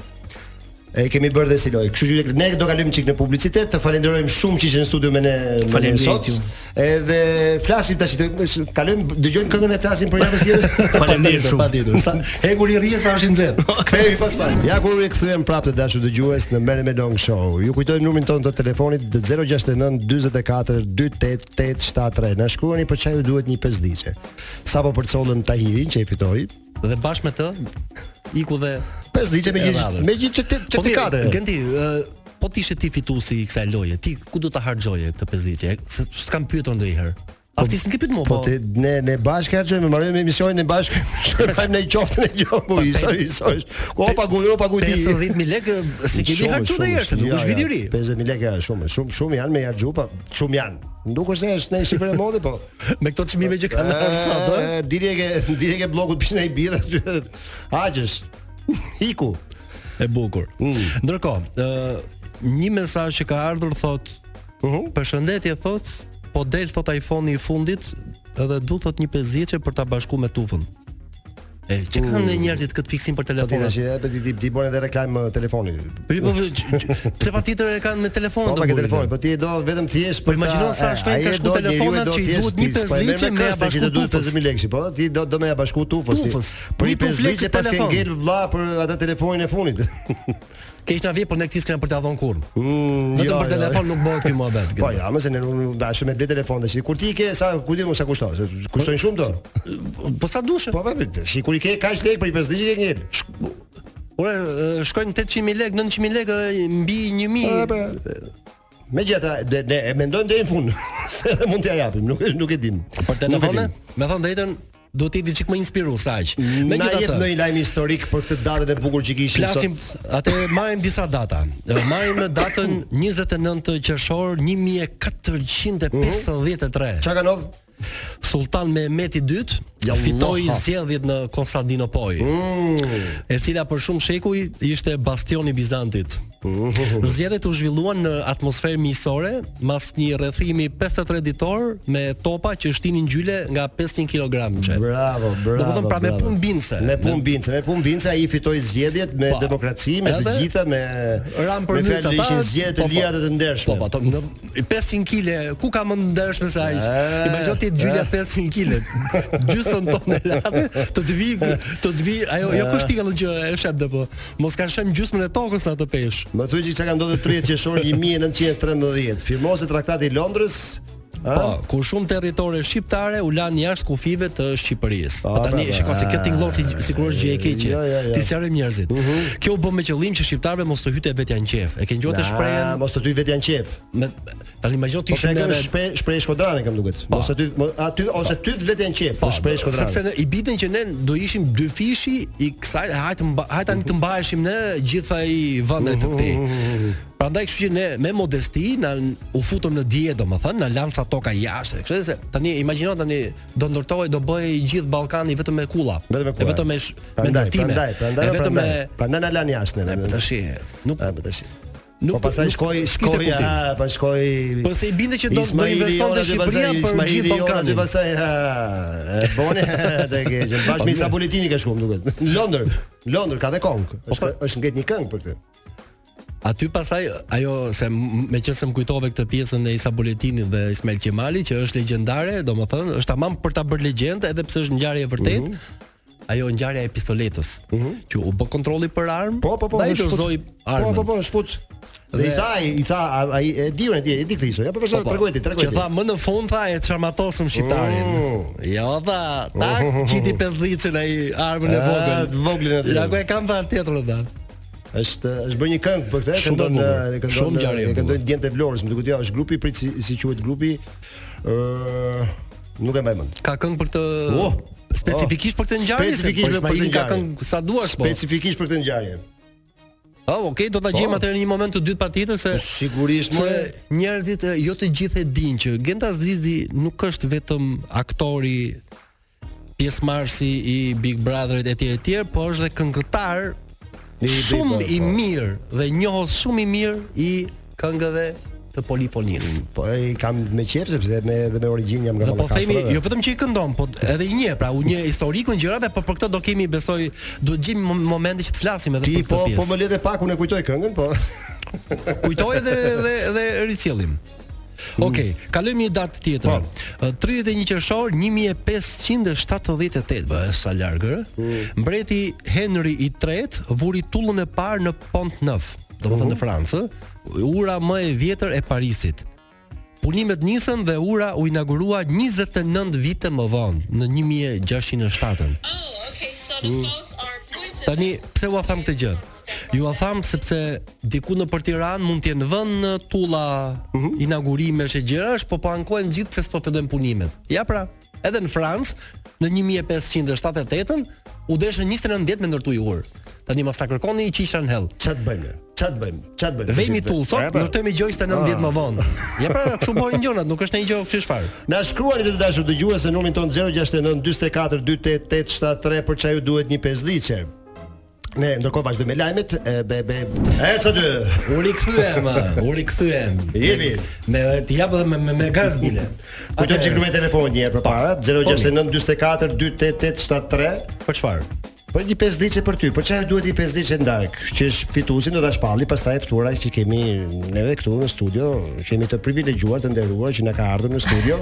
Speaker 5: E kemi bërë dhe si lojë. Kështu që ne do kalim çik në publicitet. Të falenderojmë shumë që ishe në studio me ne me ne
Speaker 8: Faleminderit
Speaker 5: sot.
Speaker 8: ju.
Speaker 5: Edhe flasim tash, të- kalojmë dëgjojmë këngën e flasim për javën tjetër.
Speaker 8: Faleminderit shumë.
Speaker 6: Patjetër. Sa hekur i rrjes sa është i nxehtë.
Speaker 5: Kthehemi pas pak. Ja kur rikthyem prapë të dashur dëgjues në Merrem me Long Show. Ju kujtojmë numrin tonë të telefonit 069 44 28 873. Na shkruani për çfarë ju duhet një pesdiçe. Sapo përcollëm Tahirin që e fitoi.
Speaker 6: Dhe bashkë me të iku dhe
Speaker 5: Pesdiçe me
Speaker 6: E
Speaker 5: gjithë
Speaker 6: radhës. Po
Speaker 5: me gjithë çerti- certifikate.
Speaker 6: Genti, ë, po ti ishe ti fituesi i kësaj loje, ti ku do ta harxoje këtë pesdhiçje? Se s'kam pyetur ndonjëherë. As ti s'më ke pyetur mua,
Speaker 5: Po
Speaker 6: po.
Speaker 5: te ne ne bashkë harxojmë, marrëm emisionin ne bashkë. Shkojmë në qoftën e gjopu, i soj, i soj. Ku pa gojë, pa
Speaker 6: Po
Speaker 5: gojë.
Speaker 6: 50000 lekë ë, si ke
Speaker 5: Shumë,
Speaker 6: di harxhu
Speaker 5: shumë,
Speaker 6: ndonjëherë, se
Speaker 5: shumë,
Speaker 6: nuk
Speaker 5: ja,
Speaker 6: është
Speaker 5: ja,
Speaker 6: vit i ri.
Speaker 5: 50000 lekë ja, shumë, shumë, shumë janë me harxhu, pa shumë janë. Nuk është se është në shifrë e mode, po.
Speaker 6: Me këto çmime që kanë ardhur sot, ë?
Speaker 5: E, Dilje ke dilje ke bllokut pish në birë aty. Haqesh. Iku.
Speaker 6: E bukur.
Speaker 5: Mm.
Speaker 6: Ndërkohë, ë një mesazh që ka ardhur thot,
Speaker 5: Mhm.
Speaker 6: përshëndetje thot, po del thot iPhone-i i fundit edhe du thot një pesdhiçe për ta bashkuar me tufën. E që kanë uh. njerëzit këtë
Speaker 5: Mm.
Speaker 6: fiksim për
Speaker 5: Po ti
Speaker 6: telefonat?
Speaker 5: tash e ti ti ti bën edhe reklam eh, telefoni.
Speaker 6: Po po po, ç- ç- pse patjetër e kanë me telefonin
Speaker 5: Po
Speaker 6: të
Speaker 5: pa ke
Speaker 6: burrit.
Speaker 5: telefon, po ti e do vetëm thjesht
Speaker 6: Po imagjino sa shtojnë ka shku telefonat që i duhet një 5 liçe me ja
Speaker 5: bashku. Ti
Speaker 6: bashku
Speaker 5: duhet
Speaker 6: tufës.
Speaker 5: 50000 lekë, po ti do do me ja bashku tufës. ti.
Speaker 6: Tufës. po
Speaker 5: Për
Speaker 6: Një
Speaker 5: i 5
Speaker 6: tufë lekë
Speaker 5: liçe
Speaker 6: për
Speaker 5: pas ke
Speaker 6: telefon.
Speaker 5: ngel vlla për ata telefonin e funit.
Speaker 6: Keq na vjen por ne këtë s'kemë për ta dhënë kurrë.
Speaker 5: Mm,
Speaker 6: Vetëm
Speaker 5: jo,
Speaker 6: për
Speaker 5: jo.
Speaker 6: telefon nuk bëhet ky muhabet.
Speaker 5: Po ja, mëse ne nuk dashëm me ble telefon tash. Kur ti i ke sa ku di unë sa kushton? se Kushtojnë shumë do.
Speaker 6: Po sa dushë?
Speaker 5: Po po, si kur i ke kaq lekë për i 5 liçe ke ngel.
Speaker 6: Ora e, shkojnë 800.000 lekë, 900.000 lekë e, po. mbi
Speaker 5: E,
Speaker 6: 1000.
Speaker 5: pra, Me gjitha, dhe ne e mendojmë deri në fund, se edhe mund t'ja japim, nuk e- nuk e dim.
Speaker 6: Për telefone, me thënë drejtën, duhet të jeti çik më inspirues aq.
Speaker 5: Me na jep
Speaker 6: Megjithatë,
Speaker 5: ndonjë lajm historik për këtë datën e bukur që kishim
Speaker 6: Plasim,
Speaker 5: sot.
Speaker 6: atë marrim disa data. E, Marrim datën 29 qershor 1453.
Speaker 5: Çka kanë odh?
Speaker 6: Sultan Mehmet i dytë
Speaker 5: Ja Allah.
Speaker 6: fitoi zgjedhjet në Konstantinopol,
Speaker 5: Mm.
Speaker 6: e cila për shumë shekuj ishte bastioni i Bizantit.
Speaker 5: Mm.
Speaker 6: Zgjedhjet u zhvilluan në atmosferë miqësore, mas një rrethimi 53 ditor me topa që shtinin gjyle nga 500 kg. çe.
Speaker 5: Bravo, bravo.
Speaker 6: Domethënë, pra me
Speaker 5: bravo.
Speaker 6: punë bindse.
Speaker 5: Me punë bindse, me punë bindse ai fitoi zgjedhjet me
Speaker 6: Po.
Speaker 5: demokraci, me të
Speaker 6: Edhe
Speaker 5: gjitha, me
Speaker 6: Ram për
Speaker 5: me
Speaker 6: myç
Speaker 5: fjalë
Speaker 6: ata.
Speaker 5: ishin zgjedhje të
Speaker 6: po, po.
Speaker 5: lira dhe të ndershme.
Speaker 6: Po, po, ato në 500 kg, ku ka më ndershme se aq?
Speaker 5: E,
Speaker 6: Imagjino ti gjylja 500 kg. Gjysën tonë late, të të vi, të të vi, ajo jo kush ti ka gjë e shet dhe po. Mos ka shëm gjysmën e tokës në atë peshë.
Speaker 5: Më thuaj që çka ka ndodhur 30 qershor 1913. Firmose traktati i Londrës,
Speaker 6: Po, ku shumë territore shqiptare u lanë jashtë kufive të Shqipërisë.
Speaker 5: Po,
Speaker 6: Po tani
Speaker 5: pra,
Speaker 6: shikoj se
Speaker 5: pra.
Speaker 6: kjo tingëllon si sikur është gjë e keqe.
Speaker 5: Jo, jo, jo.
Speaker 6: Ti sqarojmë njerëzit. Kjo u bë me qëllim që shqiptarëve mos të hyte vetja në qef. E ke ngjuar Po të
Speaker 5: Na,
Speaker 6: shprehen
Speaker 5: mos të ty vetë janë qef.
Speaker 6: me tani imagjino ti
Speaker 5: Po
Speaker 6: ishe
Speaker 5: te kanë
Speaker 6: neve-
Speaker 5: shpre shprej shkodrane kam duket.
Speaker 6: Po.
Speaker 5: Mos aty mo- aty ose ty vetë janë qef, po shprej shkodrane.
Speaker 6: Sepse ne i bitën që ne do ishim dy fishi i kësaj hajtë mba- hajtë tani të mbaheshim ne gjithaj vendet të këtij. Prandaj kështu që ne me modesti na u futëm në dije domethënë, na lam ca toka jashtë. Kështu se tani imagjino tani do ndërtohej do bëhej gjithë Ballkani vetëm me kulla.
Speaker 5: Vetëm me kulla.
Speaker 6: E vetëm me sh- me
Speaker 5: Prandaj,
Speaker 6: ndërtime.
Speaker 5: Prandaj, prandaj,
Speaker 6: e vetëm me
Speaker 5: prandaj. Pra, prandaj na lan jashtë ne.
Speaker 6: E, po tash nuk
Speaker 5: Ah, po tash.
Speaker 6: nuk
Speaker 5: Po pastaj
Speaker 6: nuk-
Speaker 5: shkoi
Speaker 6: s'kishte
Speaker 5: shkoi
Speaker 6: kuptim.
Speaker 5: ah, po shkoi
Speaker 6: Po se i binde që do- do
Speaker 5: Ismaili
Speaker 6: investonte
Speaker 5: Jona dhe
Speaker 6: Shqipëria
Speaker 5: pastaj
Speaker 6: për
Speaker 5: Ismaili
Speaker 6: gjithë
Speaker 5: Jona
Speaker 6: Ballkanin. Po,
Speaker 5: Dhe pastaj ha, e bone te keq. Bashkë me Sabulitini ka shkuar më duket. Në Londër, në Londër ka dhe këngë.
Speaker 6: Po,
Speaker 5: Është është ngjet një këngë për këtë.
Speaker 6: Aty pastaj ajo se m- me që se më kujtove këtë pjesën e Isa Buletinit dhe Ismail Qemali që është legjendare, domethënë është tamam për ta bërë legjendë edhe pse është ngjarje e vërtetë.
Speaker 5: Mhm.
Speaker 6: Ajo ngjarja e pistoletës, që u bë kontrolli për armë,
Speaker 5: Po, po, po.
Speaker 6: dhe ai
Speaker 5: shfut.
Speaker 6: dërzoi armën.
Speaker 5: Po, po, po, shfut. Dhe i
Speaker 6: Dhe-
Speaker 5: tha, i tha, a- ai e di unë, e di, e di këtë histori. Ja, po vazhdo, tregoj ti, tregoj
Speaker 6: Që
Speaker 5: ti.
Speaker 6: tha më në fund tha e çarmatosëm shqiptarin.
Speaker 5: Mm.
Speaker 6: Jo tha, tak qiti 50 ai armën e
Speaker 5: Ah,
Speaker 6: vogël.
Speaker 5: të voglin aty.
Speaker 6: Ja ku e kam tha tjetrën tha.
Speaker 5: Është është bërë një këngë për këtë, e
Speaker 6: Shumë
Speaker 5: këndon
Speaker 6: e bukur.
Speaker 5: e këndon
Speaker 6: Shumë ngjarje e
Speaker 5: e këndon
Speaker 6: bukur.
Speaker 5: djemtë e Vlorës, më duket ja, është grupi prit si, si quhet grupi ë nuk e mbaj mend.
Speaker 6: Ka këngë për këtë
Speaker 5: Oh,
Speaker 6: specifikisht për këtë ngjarje, se
Speaker 5: Specifikisht për këtë
Speaker 6: për Ismailin ka
Speaker 5: ngjarje.
Speaker 6: këngë sa duash po.
Speaker 5: Specifikisht për këtë ngjarje.
Speaker 6: Oh, okay, do ta
Speaker 5: Po.
Speaker 6: gjejmë atëherë në një moment të dytë patjetër se
Speaker 5: Sigurisht më
Speaker 6: se njerëzit eh, e, jo të gjithë e dinë që Genta Zizi nuk është vetëm aktori pjesëmarrësi i Big Brotherit etj etj, po është dhe këngëtar
Speaker 5: I Big
Speaker 6: shumë
Speaker 5: Brother,
Speaker 6: i
Speaker 5: po.
Speaker 6: mirë dhe njohës shumë i mirë i këngëve të polifonisë.
Speaker 5: Po e kam me qejf sepse me edhe me origjinë jam nga
Speaker 6: Dhe po
Speaker 5: Ballakastra.
Speaker 6: themi, jo vetëm që i këndon, po edhe i nje, pra u nje historikun gjërave, po për këtë do kemi besoj, duhet gjejmë mo- momente që të flasim edhe
Speaker 5: ti
Speaker 6: për këtë
Speaker 5: po po
Speaker 6: pjesë.
Speaker 5: më le të pak unë e kujtoj këngën, po.
Speaker 6: Kujtoj edhe dhe dhe ricjellim. Okej, kalojmë një datë tjetër. Ë, 31 qershor 1578, bëhet sa larg ë. Mbreti Henry i tretë vuri tullën e parë në Pont Neuf, domethënë në Francë, ë, ura më e vjetër e Parisit. Punimet nisën dhe ura u inaugurua 29 vite më vonë, në 1607. Tani pse u a tham këtë gjë? Ju a tham sepse diku në për Tiranë mund të jenë vënë në tulla Mhm. inaugurimesh e gjërash, po po ankohen gjithë se s'po fillojnë punimet. Ja pra, edhe në Francë në 1578-ën u deshën 29 vjet me ndërtu i urë. Tani mos ta kërkoni i qisha në hell.
Speaker 5: Ç'a të bëjmë? ne? Ç'a të bëjmë? Ç'a të bëjmë? po.
Speaker 6: Vejmë i
Speaker 5: Tullë,
Speaker 6: tullë sot, ndërtojmë i gjoj 29 vjet më vonë. Ja pra, kështu bëhen gjonat, nuk është një gjë kështu çfarë.
Speaker 5: Na shkruani të dashur dëgjues në numrin ton 069 44 28 873 për çaj ju duhet një pesdhiçe. Ne ndërkohë vazhdojmë me lajmet. E be be. Ecë dy.
Speaker 6: U rikthyem, a, u rikthyem.
Speaker 5: Jepi.
Speaker 6: Me ti jap edhe me me, me gaz bile.
Speaker 5: Kujtoj
Speaker 6: Atëherë,
Speaker 5: që këtu me telefonin një herë përpara 069 44 28 873
Speaker 6: Për çfarë?
Speaker 5: Po një pesë ditë për ty. Po çfarë duhet i pesë ditë ndark? Që është fituesi do ta shpalli, pastaj e ftuara që kemi neve këtu në studio, kemi të privilegjuar të nderuar që na ka ardhur në studio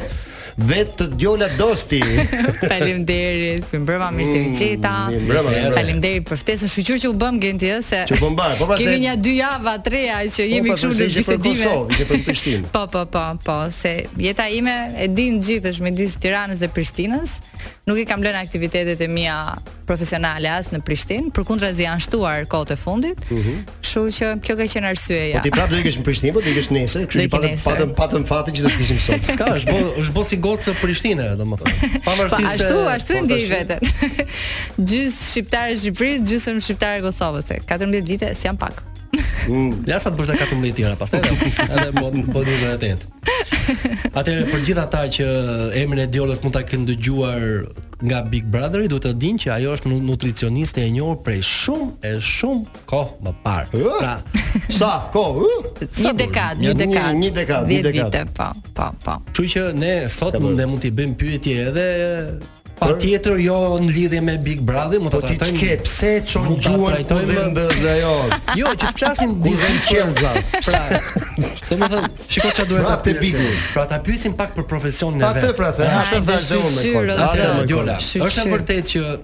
Speaker 5: vetë të Djola Dosti.
Speaker 9: Faleminderit. Mirëmbrëma, mirë se u gjeta.
Speaker 5: Mm, mirë mbrëma, mirë mbrëma.
Speaker 9: Faleminderit për ftesën. Shqyqur që u bëm Genti ë se
Speaker 5: Që u bëm bar, po pra se-
Speaker 9: Kemi një dy java, treja që jemi
Speaker 5: Po,
Speaker 9: këtu
Speaker 5: pra,
Speaker 9: në
Speaker 5: se ishe për
Speaker 9: bisedime.
Speaker 5: Kosovë, ishe për Prishtinë.
Speaker 9: Po, po, po, po, se jeta ime e din gjithë është midis Tiranës dhe Prishtinës. Nuk i kam lënë aktivitetet e mia profesionale as në Prishtinë, përkundrazi janë shtuar kohët e fundit. Kështu që kjo ka qenë arsyeja.
Speaker 5: Mhm. Po ti prapë do ikesh në Prishtinë, po do ikesh nesër,
Speaker 9: Do
Speaker 5: kështu që
Speaker 9: iki
Speaker 5: patëm
Speaker 9: nesër.
Speaker 5: patëm patëm fatin që do të kishim sot.
Speaker 6: Ska, është bo, është bo si gocë Prishtinë, domethënë.
Speaker 9: Pa,
Speaker 6: Pavarësisht
Speaker 9: ashtu, ashtu e
Speaker 5: po,
Speaker 9: ndjej
Speaker 5: tash-
Speaker 9: veten. Gjys shqiptare e Shqipërisë, gjysmë shqiptare e Kosovës. se 14 vite s'jam pak.
Speaker 6: Ja sa të bësh edhe 14 tjera, pastaj edhe edhe po po 28. Atëherë për gjithë ata që emrin e Diolës mund ta kenë dëgjuar nga Big Brotheri, duhet të dinë që ajo është nu- nutricioniste e njohur prej shumë e shumë kohë më parë. Pra,
Speaker 5: Sa? Ko? Uh?
Speaker 9: Një dekadë, një
Speaker 5: Një-
Speaker 9: dekadë.
Speaker 5: një dekadë, një
Speaker 9: 10
Speaker 5: dekadë.
Speaker 9: vite, po, po, po.
Speaker 6: kështu që ne sot ne mund t'i bëjmë pyetje edhe patjetër jo në lidhje me Big Brother, mund ta
Speaker 5: Po ti
Speaker 6: trajtojmë.
Speaker 5: çke, pse çon
Speaker 6: Mund ta
Speaker 5: gjuan ku
Speaker 6: trajtojmë-
Speaker 5: dhe mbëz ajo?
Speaker 6: Jo, që të flasim
Speaker 5: Ku dhe
Speaker 6: disi
Speaker 5: qelza?
Speaker 6: Pra, domethënë, shikoj çfarë duhet
Speaker 5: Pra
Speaker 6: ta
Speaker 5: te
Speaker 6: pyesim.
Speaker 5: bikur.
Speaker 6: Pra ta pyesim pak për profesionin e
Speaker 5: Pa
Speaker 6: vet.
Speaker 5: të pra the, ashtë
Speaker 9: Hajde,
Speaker 5: thash dhe unë. me
Speaker 9: shqyr,
Speaker 5: kolë.
Speaker 9: ose-
Speaker 5: Ashtë
Speaker 6: Atë
Speaker 5: me kolë.
Speaker 6: Djola,
Speaker 9: Shqyr,
Speaker 6: është e
Speaker 9: shqyr.
Speaker 6: vërtet që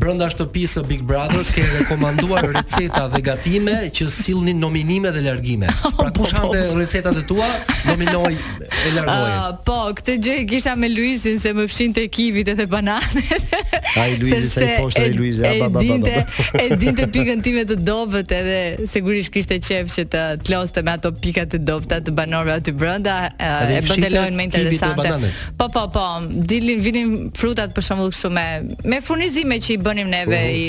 Speaker 6: brenda shtëpisë së Big Brother ke rekomanduar receta dhe gatime që sillnin nominime dhe largime. Pra kush
Speaker 5: Po,
Speaker 6: hante recetat e tua, nominoi e largoi.
Speaker 9: Uh, po, këtë gjë e kisha me Luizin se më fshin te kivit edhe bananet.
Speaker 5: Ai Luizi sa i
Speaker 9: sepse
Speaker 5: poshtë ai
Speaker 9: e-
Speaker 5: Luizi, a
Speaker 9: e
Speaker 5: ba ba ba.
Speaker 9: dinte,
Speaker 5: ba.
Speaker 9: e dinte pikën time të dobët edhe sigurisht kishte qejf që të të loste me ato pika të dobta të banorëve aty brenda, e,
Speaker 6: Edhe
Speaker 9: e
Speaker 6: i fshite
Speaker 9: bëndelojnë me
Speaker 6: kivit dhe
Speaker 9: interesante.
Speaker 6: bananet.
Speaker 9: Po, po, po, dilin vinin frutat për shembull kështu me me furnizime që i bënim neve i,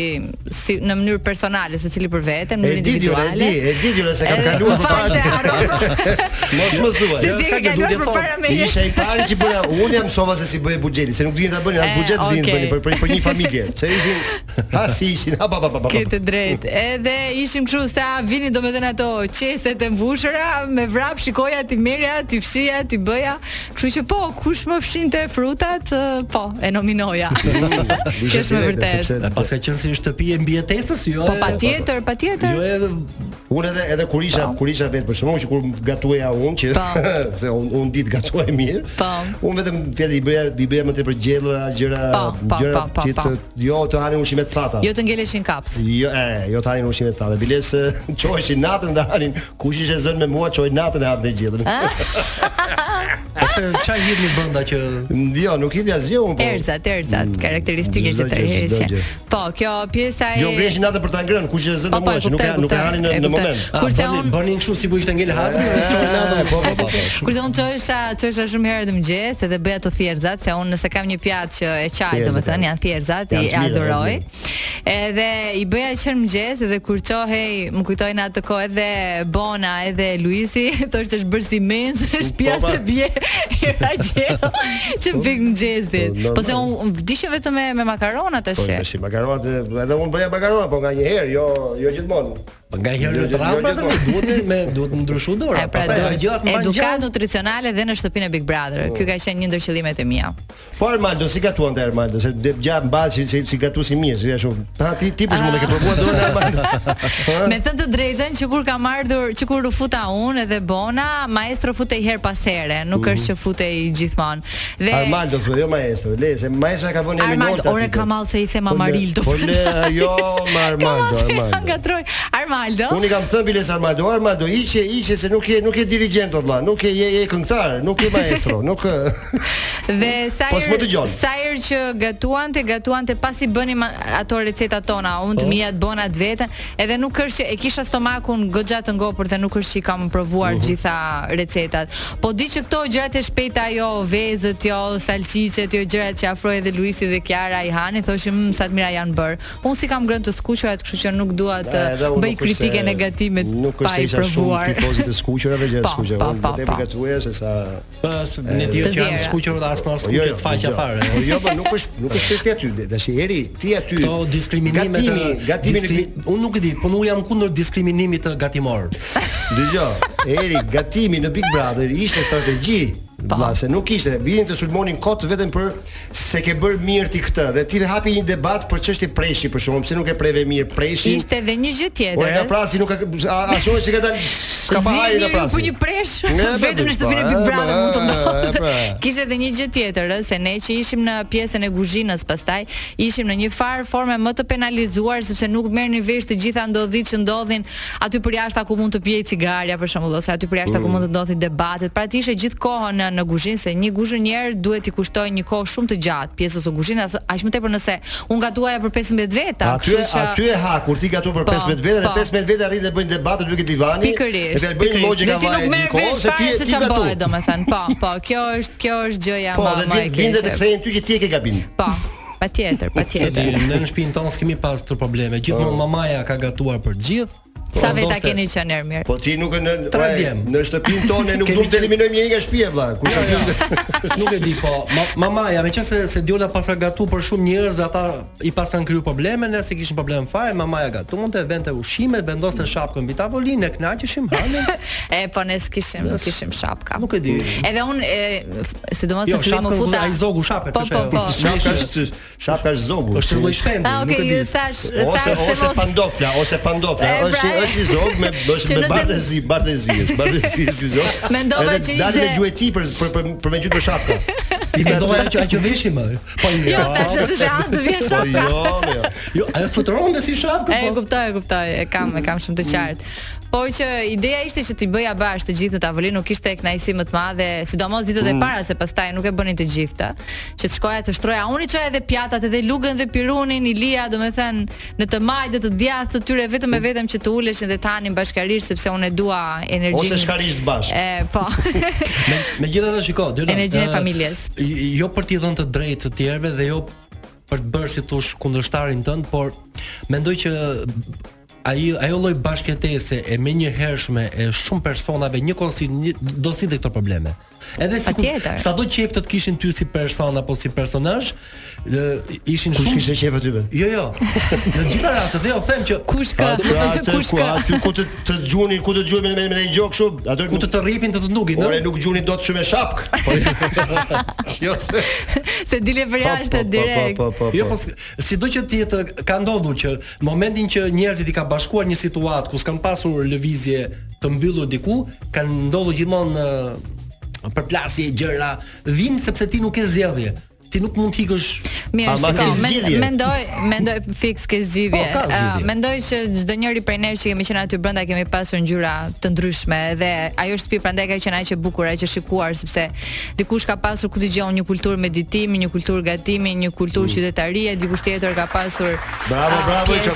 Speaker 9: si, në mënyrë personale, secili për veten, në
Speaker 5: Po. E
Speaker 9: mënyrë
Speaker 5: di Djola, e
Speaker 9: individuale.
Speaker 5: di, e di Djola se kam
Speaker 9: Edhe-
Speaker 5: kaluar po pra,
Speaker 9: Më falë, se
Speaker 5: përpara.
Speaker 9: harrova.
Speaker 5: Mos më thuaj.
Speaker 9: Se
Speaker 5: jo,
Speaker 9: ti
Speaker 5: s'ka
Speaker 9: e
Speaker 5: që
Speaker 9: kaluar
Speaker 5: duhet
Speaker 9: përpara
Speaker 5: thot.
Speaker 9: meje.
Speaker 5: Isha i pari që bëra. Unë jam sova se si bëhet buxheti, se nuk dihen ta bënin as
Speaker 9: E,
Speaker 5: buxhet s'din
Speaker 9: okej.
Speaker 5: bënin për për për një familje. Se ishin ha si ishin, ha ba ba ba ba.
Speaker 9: Ke të drejtë. Edhe ishim kështu sa vini domethënë ato qeset e mbushura me vrap, shikoja ti merja, ti fshija, ti bëja. Kështu që po, kush më fshinte frutat, ë, po, e nominoja. Po, Kjo është me vërtet.
Speaker 6: E pas ka qenë si shtëpi e mbijetesës, jo.
Speaker 9: Po
Speaker 6: e-
Speaker 9: patjetër,
Speaker 6: Jo
Speaker 9: patjetër.
Speaker 6: e
Speaker 5: Unë edhe edhe kur isha kur isha vetë për shkakun që kur gatuaja unë që
Speaker 9: Po.
Speaker 5: se un un ditë gatuaj mirë.
Speaker 9: Po.
Speaker 5: Unë vetëm fjalë i bëja i bëja më tepër gjellëra, gjëra
Speaker 9: Po, po,
Speaker 5: gjëra
Speaker 9: po, po,
Speaker 5: që
Speaker 9: po.
Speaker 5: të jo të hanin ushqime të thata.
Speaker 9: Jo të ngeleshin kaps.
Speaker 5: Jo, e, jo tani në ushqime të thata. Biles çoheshin natën dhe hanin. Kush ishte zën me mua çoj natën e hanin dhe gjellën.
Speaker 6: pse çfarë hidhni brenda që
Speaker 5: Jo, nuk i di asgjë unë po.
Speaker 9: Erzat, erzat, karakteristike
Speaker 5: çdo
Speaker 9: që
Speaker 5: gjë, çdo gjë.
Speaker 9: tërheqje. Po, kjo pjesa e
Speaker 5: Jo vreshin natën për ta ngrënë, kush ishte zën me mua që nuk e nuk e hanin në- në moment.
Speaker 6: a,
Speaker 9: Kurse
Speaker 6: bëni-
Speaker 9: unë
Speaker 6: bënin kështu si po ishte ngel hatri dhe çoj natën.
Speaker 5: E, Po, po, po. po.
Speaker 9: Kurse unë çohesha, çohesha shumë herë të mëngjes edhe bëja të thjerëzat, se unë nëse kam një pjatë që e qaj,
Speaker 5: Thjerëzat,
Speaker 9: domethënë
Speaker 5: janë.
Speaker 9: janë thjerëzat, i
Speaker 5: Janë të
Speaker 9: e
Speaker 5: mira,
Speaker 9: adhuroj.
Speaker 5: janë
Speaker 9: Edhe i bëja qenë mëngjes edhe kur qohej, më kujtojnë atë kohë edhe Bona edhe Luisi, thoshte është bërë si mens, shtëpia
Speaker 5: po,
Speaker 9: se
Speaker 5: pa.
Speaker 9: bje. Era gjell që pik mëngjesit.
Speaker 5: Po, normal.
Speaker 9: Po se unë vdishë vetëm me me makarona
Speaker 5: Po
Speaker 9: tash.
Speaker 5: tash makaronat edhe unë bëja makarona, po nga një herë, jo jo gjithmonë.
Speaker 6: Po nga
Speaker 5: Jo,
Speaker 6: herë
Speaker 5: jo,
Speaker 6: në
Speaker 5: jo,
Speaker 6: trapa
Speaker 5: jo,
Speaker 6: tani duhet të- me duhet të ndryshu dora.
Speaker 9: E
Speaker 5: Po,
Speaker 9: pra
Speaker 6: Pastaj
Speaker 9: do
Speaker 6: gjërat mban
Speaker 9: edukat
Speaker 6: gjallë.
Speaker 9: nutricionale dhe në shtëpinë e Big Brother. Ky ka qenë një ndër qëllimet e mia.
Speaker 5: Po Armando, si gatuan te Armando, se dhe gjatë mbaj si si, si gatu si mirë, si ashtu. Ha ti ti për shkak ke provuar dorën
Speaker 9: Ah.
Speaker 5: e Armando. Ha?
Speaker 9: Me të të drejtën që kur kam ardhur, që kur u futa unë edhe Bona, maestro futej her pas here, nuk
Speaker 5: Mhm.
Speaker 9: është që futej gjithmonë. Dhe
Speaker 5: Armando, po, jo maestro, le, se maestro e ka vënë emrin
Speaker 9: Armando,
Speaker 5: Olta.
Speaker 9: ore
Speaker 5: aty,
Speaker 9: Kamal se i them
Speaker 5: Po, le-
Speaker 9: Amarildo.
Speaker 5: Po le, jo, ma Armando, Armando.
Speaker 9: Ngatroj. Armaldo.
Speaker 5: Unë i kam thënë Biles Armando, Armando, iqe, iqe se nuk je nuk je dirigent o vlla, nuk je je, je këngëtar, nuk je maestro, nuk
Speaker 9: Dhe sa
Speaker 5: Po, s'më
Speaker 9: herë
Speaker 5: dëgjon.
Speaker 9: sa herë që gatuante, gatuante pasi bënim a- ato recetat tona, unë
Speaker 5: Po.
Speaker 9: të mia të bona të veten, edhe nuk është që e kisha stomakun goxha të ngopur dhe nuk është që i kam provuar
Speaker 5: Mhm.
Speaker 9: gjitha recetat. Po di që këto gjërat e shpejta jo, vezët jo, salçiçet jo, gjërat që afroi edhe Luisi dhe Kiara i hanin, thoshim "Mm, sa të mira janë bër. Unë si kam grënë të skuqura, kështu që nuk dua të bëj kritike negative pa i provuar.
Speaker 5: Nuk është se isha shumë tifoz të skuqurave, gjë
Speaker 9: Po,
Speaker 5: skuqurave.
Speaker 9: po,
Speaker 5: Unë
Speaker 9: po,
Speaker 5: vërtet
Speaker 9: po.
Speaker 5: për gatuaja se sa
Speaker 6: Pas ne di
Speaker 9: të
Speaker 6: që janë
Speaker 9: zjera.
Speaker 6: skuqur dhe as as skuqur të faqja
Speaker 5: jo.
Speaker 6: fare.
Speaker 5: O, Jo, po nuk është nuk është çështja aty. Tash eri ti aty.
Speaker 6: Këto diskriminime të
Speaker 5: gatimi, gatimi në
Speaker 6: diskri- unë nuk e di, po unë jam kundër diskriminimit të gatimor.
Speaker 5: Dëgjoj, eri gatimi në Big Brother ishte strategji. Vlla, se nuk ishte, vinin të sulmonin kot vetëm për se ke bërë mirë ti këtë dhe ti dhe hapi një debat për çështje preshi për shkakun, pse nuk e preve mirë preshin.
Speaker 9: Ishte edhe një gjë tjetër.
Speaker 5: Ora nga
Speaker 9: ëh?
Speaker 5: prasi nuk ka asoj që ka dalë s'ka pa pra,
Speaker 9: Zi
Speaker 5: ajër nga
Speaker 9: njeriu
Speaker 5: prasi.
Speaker 9: për një presh,
Speaker 5: Nga, po,
Speaker 9: vetëm në shtëpinë e
Speaker 5: po,
Speaker 9: Big
Speaker 5: e,
Speaker 9: Brother
Speaker 5: po,
Speaker 9: mund të
Speaker 5: e, e,
Speaker 9: ndodhte.
Speaker 5: pra.
Speaker 9: Kishte edhe një gjë tjetër, ë, se ne që ishim në pjesën e kuzhinës pastaj, ishim në një farë forme më të penalizuar sepse nuk merrnin vesh të gjitha ndodhit që ndodhin aty për jashtë ku mund të pjej cigarja për shembull ose aty për
Speaker 5: Mm.
Speaker 9: jashtë ku mund të ndodhin debatet. Pra ti ishe gjithë kohën në, në kuzhinë se një kuzhinier duhet i kushtoj një kohë shumë të gjatë pjesës së kuzhinës, aq më tepër nëse unë gatuaja për 15 veta,
Speaker 5: Aty aty e ha kur ti gatu për
Speaker 9: Po,
Speaker 5: 15 vete, dhe
Speaker 9: po.
Speaker 5: 15 vete arrin dhe bëjnë debate duke divani.
Speaker 9: Pikërisht.
Speaker 5: Dhe bëjnë logje
Speaker 9: Dhe
Speaker 5: ka
Speaker 9: ti
Speaker 5: vaje
Speaker 9: nuk merr
Speaker 5: gjithkohë,
Speaker 9: vesh fare se çfarë bëhet, domethënë. Po, po, kjo është kjo është gjëja
Speaker 5: Po,
Speaker 9: më
Speaker 5: dhe
Speaker 9: më
Speaker 5: ti
Speaker 9: e
Speaker 5: vjen dhe të
Speaker 9: keqe.
Speaker 5: kthejnë ty që ti e ke gabim.
Speaker 9: Po, patjetër,
Speaker 6: Se di,
Speaker 9: patjetër.
Speaker 6: ne në shtëpinë tonë s'kemi pas të probleme. Gjithmonë
Speaker 5: Po.
Speaker 6: mamaja ka gatuar për të gjithë.
Speaker 9: Sa
Speaker 6: po,
Speaker 9: veta
Speaker 6: ndoshta-
Speaker 9: keni qenë erë mirë.
Speaker 5: Po ti nuk në
Speaker 6: Tre
Speaker 5: ore,
Speaker 6: djem.
Speaker 5: në shtëpinë tonë nuk
Speaker 6: Kemi
Speaker 5: duam të
Speaker 6: qenë-
Speaker 5: eliminojmë njëri nga shtëpia vlla. Kush
Speaker 6: Ja,
Speaker 5: aty?
Speaker 6: ja. Nuk e di po, ma- mamaja, meqense se, se Diola pas ka gatu për shumë njerëz dhe ata i pas kanë kriju probleme, ne se kishin problem fare, mamaja gatunte, vente ushimet, vendoste shapkën mbi tavolinë, e kënaqeshim, hanim.
Speaker 9: E, po ne s'kishim, nuk kishim shapka.
Speaker 6: Nuk e di.
Speaker 9: Edhe unë, e, f- sidomos
Speaker 6: Jo,
Speaker 9: në fillim u
Speaker 6: shapkën
Speaker 9: futa.
Speaker 6: vëlla, ai zogu shapet,
Speaker 9: Po,
Speaker 6: është
Speaker 9: po,
Speaker 6: ajo.
Speaker 9: po.
Speaker 5: Shapka është shapka është zogu.
Speaker 6: Është lloj shpendi,
Speaker 9: Ah,
Speaker 6: nuk e
Speaker 9: okay,
Speaker 6: di.
Speaker 9: ju thash, thash
Speaker 5: Ose
Speaker 9: se
Speaker 5: ose
Speaker 9: mos
Speaker 5: pandofla, ose pandofla,
Speaker 9: E, pra,
Speaker 5: është
Speaker 9: e.
Speaker 5: është i zog me
Speaker 9: Që
Speaker 5: është me
Speaker 9: nëse-
Speaker 5: bardhëzi, bardhëzi, është bardhëzi është i zog.
Speaker 9: Mendova që
Speaker 5: dalin me
Speaker 9: ishte-
Speaker 5: gjueti për për për, për me gjytë për shapka.
Speaker 6: Ti mendova ajo që ajo veshje më. Po
Speaker 9: Jo,
Speaker 6: jo.
Speaker 9: tash se se anë të vjen
Speaker 5: Po
Speaker 9: shapka.
Speaker 5: jo, jo.
Speaker 6: Jo, ajo futuronte si shapkë,
Speaker 9: E
Speaker 6: po.
Speaker 9: kuptoj, e kuptoj, e kam, e kam shumë të qartë. Por që ideja ishte që t'i bëja bash të gjithë në tavolinë, nuk ishte kënaqësi më të madhe, sidomos ditët
Speaker 5: Mm.
Speaker 9: e para se pastaj nuk e bënin të gjithë. Që të shkoja të shtroja, unë i çoja edhe pjatat, edhe lugën dhe pirunin, Ilia, domethënë në të majtë të djathtë të tyre vetëm e vetëm që të uleshin dhe të hanin bashkarisht sepse unë e dua energjinë.
Speaker 5: Mm. Ose shkarisht bash.
Speaker 9: E, po.
Speaker 6: Me, megjithatë shiko, Diola.
Speaker 9: Energjinë e
Speaker 6: ë,
Speaker 9: familjes.
Speaker 6: j- Jo për t'i dhënë të drejtë të tjerëve dhe jo për të bërë si thosh kundërshtarin tënd, por mendoj që ai ajo lloj bashkëtese e menjëhershme e shumë personave njëkohësi një, do sillë këto probleme. Edhe sikur
Speaker 9: Patjetër.
Speaker 6: sado qejf të të kishin ty si person apo si personazh, ë, ishin
Speaker 5: Kush
Speaker 6: shumë
Speaker 5: kishte qef aty be?
Speaker 6: Jo, jo. Në gjitha rastet, dhe jo them që
Speaker 9: Kush ka?
Speaker 5: Pra atë
Speaker 9: Kush
Speaker 5: ku
Speaker 9: ka?
Speaker 5: aty ku të të gjuni, ku të gjuni me me me një gjok kështu, atë
Speaker 6: Ah, ku të të rripin të të ndukin,
Speaker 5: Ore
Speaker 6: ëh.
Speaker 5: nuk gjuni dot shumë me shapk. Po jo se.
Speaker 9: Se dile për jashtë direkt.
Speaker 5: Po po po.
Speaker 6: Jo, po s- sido që ti jetë ka ndodhur që në momentin që njerëzit i ka bashkuar një situatë ku s'kan pasur lëvizje të mbyllur diku, kanë ndodhur gjithmonë ë, përplasje gjëra, vinë sepse ti nuk e zgjedhje. Ti nuk mund të ikësh.
Speaker 9: Mirë,
Speaker 5: Ama
Speaker 9: shiko,
Speaker 5: ke
Speaker 9: men-
Speaker 5: zgjidhje.
Speaker 9: mendoj, mendoj fix ke zgjidhje.
Speaker 6: Po, ka zgjidhje.
Speaker 9: Ë, mendoj që çdo njeri prej nesh që kemi qenë aty brenda kemi pasur ngjyra të ndryshme dhe ajo shtëpi prandaj ka qenë aq e bukur, aq e shikuar sepse dikush ka pasur ku dëgjon një kulturë meditimi, një kulturë gatimi, një kulturë qytetarie, dikush tjetër ka pasur
Speaker 5: Mm. Bravo,
Speaker 9: ah,
Speaker 5: bravo, i qo-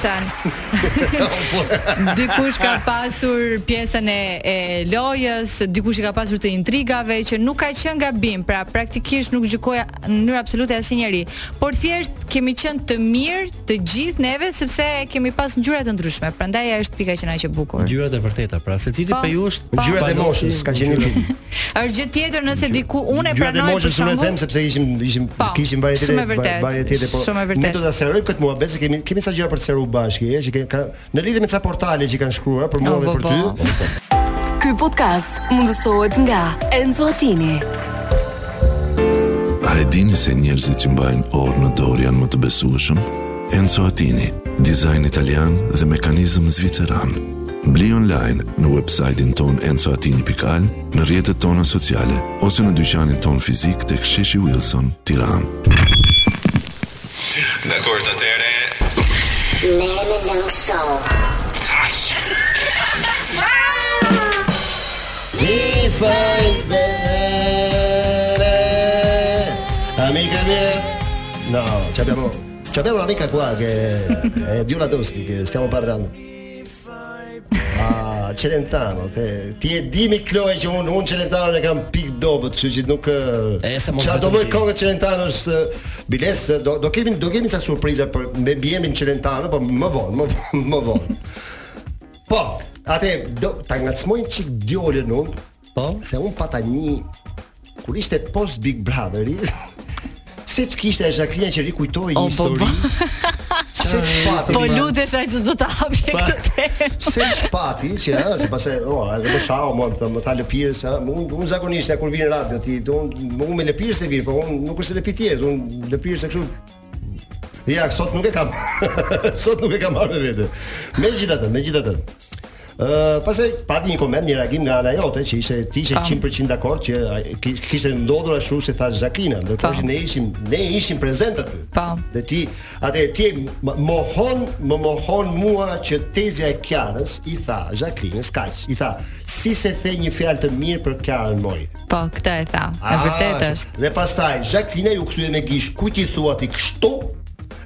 Speaker 9: pjesën dikush ka pasur pjesën e, e lojës, dikush i ka pasur të intrigave që nuk ka qenë gabim, pra praktikisht nuk gjykoja në mënyrë absolute asnjëri, por thjesht kemi qenë të mirë të gjithë neve sepse kemi pas ngjyra të ndryshme. Prandaj ajo është pika që na që bukur.
Speaker 6: Gjyrat e vërteta, pra secili
Speaker 9: Po,
Speaker 6: prej jush
Speaker 9: po.
Speaker 5: Ngjyrat e moshës ka qenë një film.
Speaker 9: Është gjë tjetër nëse diku unë e
Speaker 5: Gjyrat e
Speaker 9: pranoj për
Speaker 5: moshës unë e
Speaker 9: shembull.
Speaker 5: them sepse ishim ishim
Speaker 9: Po,
Speaker 5: kishim
Speaker 9: shumë
Speaker 5: varietete
Speaker 9: e vërtet,
Speaker 5: varietete po.
Speaker 9: shumë e vërtet.
Speaker 5: Ne do ta serojmë këtë muhabet se kemi kemi sa gjëra për të seruar bashkë, e, që ke- ka në lidhje me ca portale që kanë shkruar për mua
Speaker 9: Oh,
Speaker 5: dhe
Speaker 9: po,
Speaker 5: për
Speaker 9: po.
Speaker 5: ty.
Speaker 1: Ky podcast mundësohet nga Enzo Attini.
Speaker 2: A e dini se njerëzit që mbajnë orë në dorë janë më të besueshëm? Enzo Attini, dizajn italian dhe mekanizëm zviceran. Bli online në website-in ton enzoatini.al, në rjetët tona sociale, ose në dyqanin ton fizik të ksheshi Wilson, tiran.
Speaker 5: Ti fai bene, amica mia. No, ci abbiamo, ci abbiamo un'amica qua che è Diola Tosti che stiamo parlando. Ah, Celentano, te, ti e dimi Chloe që unë un Celentano ne kam pik dobët, kështu që nuk
Speaker 6: E, se mos
Speaker 5: Qa do
Speaker 6: vetëm
Speaker 5: lloj
Speaker 6: ti.
Speaker 5: këngë Celentano është biles do do kemi do kemi sa surpriza për me bjemin Celentano, po më vonë, më vonë, më vonë. Po, atë do ta ngacmojmë çik djolën unë,
Speaker 6: Po.
Speaker 5: se un pata një kur ishte post Big Brother se që kishte e Jacqueline që rikujtoj
Speaker 9: O,
Speaker 5: një
Speaker 9: po,
Speaker 5: histori se që pati
Speaker 9: Po lutesha që s'do ta hapje
Speaker 5: Pa-
Speaker 9: këtë temë.
Speaker 5: se që pati që ha, se pas e o, edhe më shau më të më ta lëpirës ha, më unë un zakonisht ja, kur vinë radio ti do unë më unë me lëpirës e vinë po unë nuk është se lëpi tjerë unë lëpirës e kështu Ja, sot nuk e kam. sot nuk e kam marrë me vete. Megjithatë, megjithatë. Ë, pastaj pati një koment, një reagim nga ana jote që ishte ti ishe 100% dakord që ai- ki- kishte ndodhur ashtu si thash Zakina, ndërkohë
Speaker 9: Po.
Speaker 5: që ne ishim ne ishim prezente aty.
Speaker 9: Po.
Speaker 5: Dhe ti, atë ti m- mohon, më mohon mua që tezja e Kiarës i tha Zaklinës kaq. I tha, si se the një fjalë të mirë për Kiarën mori.
Speaker 9: Po, këtë e tha. E vërtet
Speaker 5: Ah,
Speaker 9: është.
Speaker 5: Dhe pastaj Jacqueline ju kthye me gish, ku ti thua ti kështu?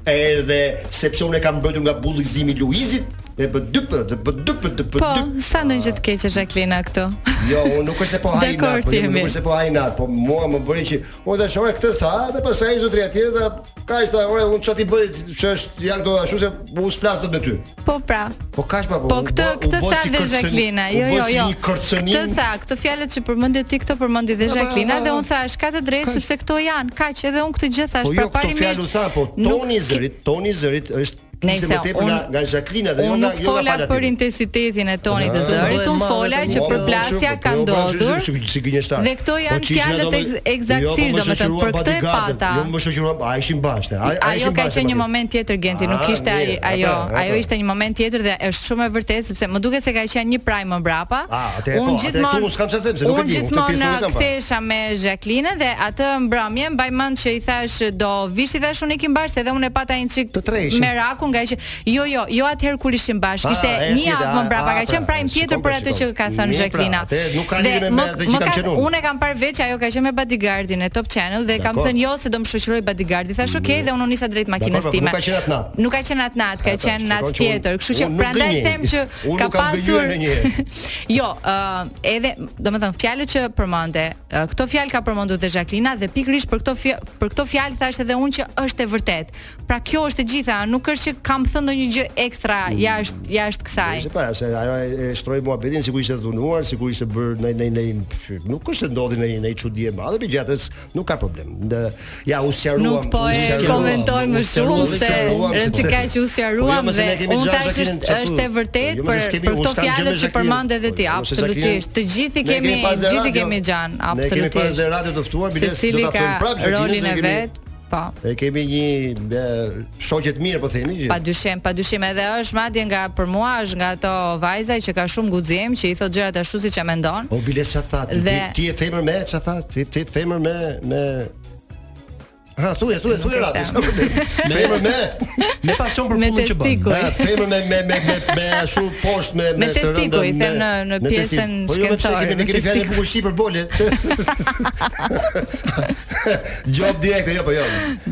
Speaker 5: Edhe sepse unë e kam mbrojtur nga bullizimi i Luizit, e bë dyp, dhe bë dyp, dhe bë
Speaker 9: Po,
Speaker 5: dyp.
Speaker 9: s'ta ndonjë gjë të keqe Jacqueline këtu.
Speaker 5: Jo, unë nuk është se po haj
Speaker 9: Dakor,
Speaker 5: nat, po jo,
Speaker 9: Timi.
Speaker 5: nuk është se po haj nat, po mua më bëri që unë tash ora këtë tha, dhe pastaj zotëria atje tha, kaq tha, ora unë çati bëj, që është ja këto ashtu se unë s'flas dot me ty.
Speaker 9: Po pra.
Speaker 5: Po kaq pa po.
Speaker 9: Po
Speaker 5: u
Speaker 9: këtë
Speaker 5: bë- u
Speaker 9: këtë
Speaker 5: bë
Speaker 9: tha
Speaker 5: si
Speaker 9: dhe
Speaker 5: kërcëni-
Speaker 9: Jacqueline.
Speaker 5: u
Speaker 9: Jo,
Speaker 5: bë
Speaker 9: jo,
Speaker 5: si
Speaker 9: jo.
Speaker 5: një kërcënim.
Speaker 9: Këtë tha, këto fjalët që përmendje ti këto përmendi dhe
Speaker 5: Po, po,
Speaker 9: Jacqueline
Speaker 5: po,
Speaker 9: dhe
Speaker 5: po.
Speaker 9: unë thash ka të drejtë sepse këto janë, kaq edhe unë këtë gjë thash.
Speaker 5: Po jo, këto fjalë u tha, po
Speaker 9: nuk
Speaker 5: toni i
Speaker 9: ki-
Speaker 5: zërit, toni i zërit është
Speaker 9: Nejse,
Speaker 5: ishte më tepër nga
Speaker 9: unë-
Speaker 5: nga Jacqueline dhe jo
Speaker 9: Unë
Speaker 5: nga
Speaker 9: nuk
Speaker 5: jo nga
Speaker 9: fola
Speaker 5: Palatini.
Speaker 9: për intensitetin e tonit të
Speaker 6: Ah.
Speaker 9: zërit, unë fola që
Speaker 5: Po, po,
Speaker 9: përplasja
Speaker 5: po,
Speaker 9: ka
Speaker 5: po, po,
Speaker 9: ndodhur.
Speaker 5: si- si- si gënjeshtar.
Speaker 9: Dhe këto janë
Speaker 5: Po, që ishin
Speaker 9: fjalët
Speaker 5: ato me-
Speaker 9: ex- eksaktësisht,
Speaker 5: Jo, po, më
Speaker 9: domethënë, për
Speaker 5: shoqëruan
Speaker 9: këtë e
Speaker 5: bodyguardët,
Speaker 9: pata.
Speaker 5: Jo, më shoqëruan, a ishin bashkë. A, a
Speaker 9: Ajo
Speaker 5: ishin
Speaker 9: ka
Speaker 5: bashkë,
Speaker 9: qenë një
Speaker 5: apo?
Speaker 9: moment tjetër Genti, nuk
Speaker 5: Ah,
Speaker 9: ishte ai
Speaker 5: mirë,
Speaker 9: ajo.
Speaker 5: apo, apo.
Speaker 9: Ajo ishte një moment tjetër dhe është shumë e vërtetë sepse më duket se ka qenë një prime më mbrapa.
Speaker 5: Ah, atëherë po, atëherë këtu unë s'kam çfarë të them, se nuk e
Speaker 9: unë
Speaker 5: di, unë këtë
Speaker 9: gjithmonë
Speaker 5: pjesën nuk e kam parë.
Speaker 9: kthesha me Jacqueline dhe atë mbrëmje mbaj mend që i thash do vish i thash unë ikim bash se edhe unë e pata një çik
Speaker 5: Të tre ishin.
Speaker 9: merakun nga që jo jo, jo atëherë kur ishim bash,
Speaker 5: Ah,
Speaker 9: ishte
Speaker 5: herë
Speaker 9: një
Speaker 5: tjetër,
Speaker 9: javë më
Speaker 5: ah,
Speaker 9: mbrapa,
Speaker 5: ah,
Speaker 9: ka qenë
Speaker 5: pra,
Speaker 9: prime
Speaker 5: shikon,
Speaker 9: tjetër
Speaker 5: po,
Speaker 9: për atë që
Speaker 5: shikon.
Speaker 9: ka thënë
Speaker 5: Mirë, pra,
Speaker 9: Jacqueline.
Speaker 5: atëherë nuk ka
Speaker 9: Dhe
Speaker 5: lidhje me
Speaker 9: më-
Speaker 5: atë që
Speaker 9: më
Speaker 5: kam
Speaker 9: ka-
Speaker 5: qenë unë.
Speaker 9: Unë e kam parë veç ajo ka qenë me bodyguardin e Top Channel dhe kam
Speaker 5: Dakor.
Speaker 9: thënë jo se do më shoqëroj bodyguardi. Thash okay dhe unë u nisa drejt makinës
Speaker 5: Dakor, po,
Speaker 9: time.
Speaker 5: Mhm. nuk ka qenë atë natë.
Speaker 9: Nuk ka qenë atë natë, ka
Speaker 5: Ata,
Speaker 9: qenë
Speaker 5: shikon
Speaker 9: natë
Speaker 5: që unë-
Speaker 9: tjetër. Kështu që
Speaker 5: unë nuk
Speaker 9: prandaj
Speaker 5: gënjej.
Speaker 9: them që
Speaker 5: Unë
Speaker 9: ka
Speaker 5: nuk kam
Speaker 9: pasur
Speaker 5: gënjur ndonjëherë.
Speaker 9: Jo, ë edhe domethënë fjalët që përmende, ë, këto fjalë ka përmendur dhe Jacqueline dhe pikërisht për këto fja- për këto fjalë thash edhe unë që është e vërtet. Pra kjo është e gjitha, nuk është që kam thënë ndonjë gjë ekstra
Speaker 5: Mm.
Speaker 9: jashtë jashtë kësaj.
Speaker 5: Se pa, se ajo e, e shtroi muhabetin sikur ishte dhunuar, sikur ishte bër në në në nuk është se ndodhi në në çudi e madhe, megjithatë nuk ka problem. Ndë, ja u sqaruam.
Speaker 9: Nuk po
Speaker 5: u
Speaker 9: e
Speaker 5: sqaruam.
Speaker 9: komentoj më
Speaker 6: u
Speaker 9: shumë
Speaker 6: sqaruam, u
Speaker 9: se
Speaker 5: sqaruam,
Speaker 9: rëndë
Speaker 5: sepse-
Speaker 9: ka që u
Speaker 5: Po, jo,
Speaker 9: sqaruam
Speaker 5: mos e
Speaker 9: dhe
Speaker 5: ne kemi
Speaker 9: unë
Speaker 5: Xhan
Speaker 9: thash
Speaker 5: Jacqueline
Speaker 9: është
Speaker 5: çatu.
Speaker 9: është e vërtet
Speaker 5: Jo, mos
Speaker 9: për
Speaker 5: e s'kemi-
Speaker 9: për
Speaker 5: unë
Speaker 9: këto
Speaker 5: s'kam gjë me
Speaker 9: fjalët që
Speaker 5: Jacqueline.
Speaker 9: përmend edhe
Speaker 5: Po,
Speaker 9: ti
Speaker 5: jo, mos e Jacqueline-
Speaker 9: absolutisht. Të gjithë i
Speaker 5: Ne
Speaker 9: kemi
Speaker 5: pas dhe
Speaker 9: gjithë i
Speaker 5: radio-
Speaker 9: kemi Xhan
Speaker 5: Ne kemi pas dhe
Speaker 9: absolutisht.
Speaker 5: radio të ftuar, biles do
Speaker 9: Secili
Speaker 5: ta
Speaker 9: ka
Speaker 5: them prapë Jacqueline,
Speaker 9: rolin
Speaker 5: se
Speaker 9: e
Speaker 5: kemi-
Speaker 9: vet. Po.
Speaker 5: E kemi një e, shoqe të mirë po themi që.
Speaker 9: Pa dyshim, pa dyshim edhe është madje nga për mua është nga ato vajza që ka shumë guxim, që i thot gjërat ashtu siç e mendon.
Speaker 5: O biles çfarë tha? Ti-
Speaker 9: Dhe-
Speaker 5: Ti ti je femër me çfarë tha? Ti ti je femër me me Ha, thuaj, thuaj, thuaj rapi. sa problem. Femër me
Speaker 6: Me pasion për
Speaker 9: Me
Speaker 6: punën që bën.
Speaker 9: testikuj.
Speaker 5: me Ah, femër me me me me, me ashtu poshtë me
Speaker 9: Me
Speaker 5: të
Speaker 9: testiku,
Speaker 5: rëndën,
Speaker 9: i them në- në
Speaker 5: me testiku.
Speaker 9: pjesën
Speaker 5: Po jo, me pse
Speaker 9: shkencore,
Speaker 5: kemi ne
Speaker 9: me
Speaker 5: kemi fjalë
Speaker 9: testiku.
Speaker 5: bukur shqipër bole. Job direkt, jo po jo.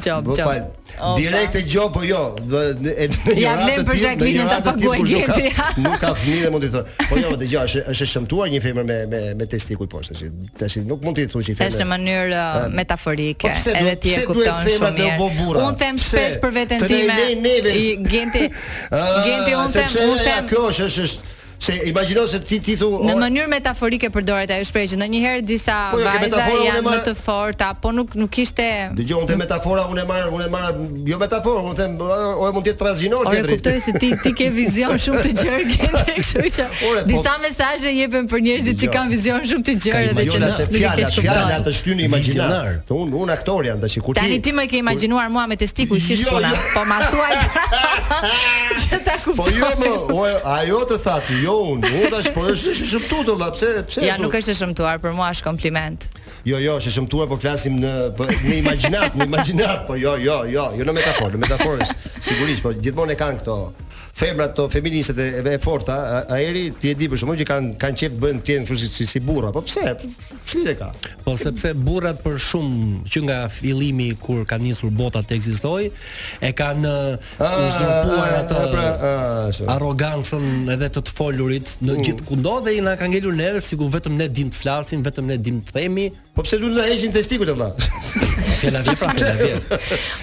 Speaker 9: Job,
Speaker 5: Po,
Speaker 9: job.
Speaker 5: fal.
Speaker 9: Opa.
Speaker 5: Direkt e gjob po jo. Dhe- në- e- në një
Speaker 9: Ja
Speaker 5: ratë
Speaker 9: vlen
Speaker 5: të
Speaker 9: për
Speaker 5: tillë- në
Speaker 9: Jacqueline-n
Speaker 5: një
Speaker 9: ta
Speaker 5: ratë të tillë
Speaker 9: paguaj
Speaker 5: kur nuk ka-
Speaker 9: gjeti, ha.
Speaker 5: Nuk ka fëmijë dhe mund të thonë. Po jo, dëgjoj, është është e shëmtuar një femër me me me testiku i poshtë. tash. Tash nuk mund të i thuash një femër.
Speaker 9: Është në mënyrë uh, metaforike,
Speaker 5: Po pse
Speaker 9: edhe
Speaker 5: duhet-
Speaker 9: ti e
Speaker 5: pse duhet
Speaker 9: kupton
Speaker 5: femrat
Speaker 9: shumë
Speaker 5: me u
Speaker 9: mirë.
Speaker 5: bë burra?
Speaker 9: Unë them
Speaker 5: Pse?
Speaker 9: shpesh për veten
Speaker 5: Të ne i
Speaker 9: time.
Speaker 5: lejnë neve.
Speaker 9: i Genti,
Speaker 5: Ah,
Speaker 9: Genti unë them,
Speaker 5: sepse
Speaker 9: unë
Speaker 5: ja,
Speaker 9: them
Speaker 5: Kjo është është është se imagjino se ti ti thu
Speaker 9: Në
Speaker 5: "O,
Speaker 9: mënyrë metaforike përdoret ajo shprehje. që Ndonjëherë disa
Speaker 5: Po jo, ke
Speaker 9: vajza
Speaker 5: metaforë, unë e
Speaker 9: janë më
Speaker 5: marr-
Speaker 9: të forta, po nuk nuk ishte
Speaker 5: Dëgjoj, unë te metafora unë e marr, unë e marr jo metaforë, unë them o e mund të jetë trazinor
Speaker 9: Ore kuptoj se ti ti ke vizion shumë të gjerë Genti, kështu që
Speaker 5: Ore, po- Jo.
Speaker 9: disa mesazhe jepen për njerëzit që
Speaker 5: Dëgjoj.
Speaker 9: kanë vizion shumë të gjerë edhe që
Speaker 5: Imagjona
Speaker 9: nuk
Speaker 5: se
Speaker 9: nuk i
Speaker 5: fjala,
Speaker 9: kesh
Speaker 5: fjala
Speaker 9: kuptuar.
Speaker 5: të shtyni imagjinar.
Speaker 6: Vizionar.
Speaker 5: Unë unë aktor jam tash kur ti.
Speaker 9: Tani ti më ke imagjinuar mua me testiku si
Speaker 5: Jo,
Speaker 9: shpuna,
Speaker 5: jo.
Speaker 9: po ma thuaj që ta
Speaker 5: Po
Speaker 9: kuptoj.
Speaker 5: jo më, o, ajo të tha ti, jo unë, unë tash po është është shëmtuar vëlla, pse pse?
Speaker 9: Ja,
Speaker 5: thu?
Speaker 9: nuk është e shëmtuar, për mua është kompliment.
Speaker 5: Jo, jo, është shëmtuar, po flasim në për, në imagjinat, në imagjinat, po jo, jo, jo, jo në metaforë, në metaforë është sigurisht, po gjithmonë e kanë këto femrat to feministet e, e forta, a- aeri ti e di për shkakun që kanë kanë qejf të bëjnë të jenë kështu si, si, si burra, po pse? Flitë ka.
Speaker 6: Po sepse burrat për shumë që nga fillimi kur ka nisur bota të ekzistojë, e kanë
Speaker 5: A,
Speaker 6: uh, uzurpuar
Speaker 5: a,
Speaker 6: atë
Speaker 5: a, Ah, pra, a, ashtu.
Speaker 9: Ah.
Speaker 6: arrogancën edhe të të folurit në
Speaker 5: Mm.
Speaker 6: gjithë kundo dhe i na ka ngelur neve sikur vetëm ne dim të flasim, vetëm ne dim të themi,
Speaker 5: Po pse duhet të heqin testikut e vëlla?
Speaker 6: se na vjen pra se na vjen.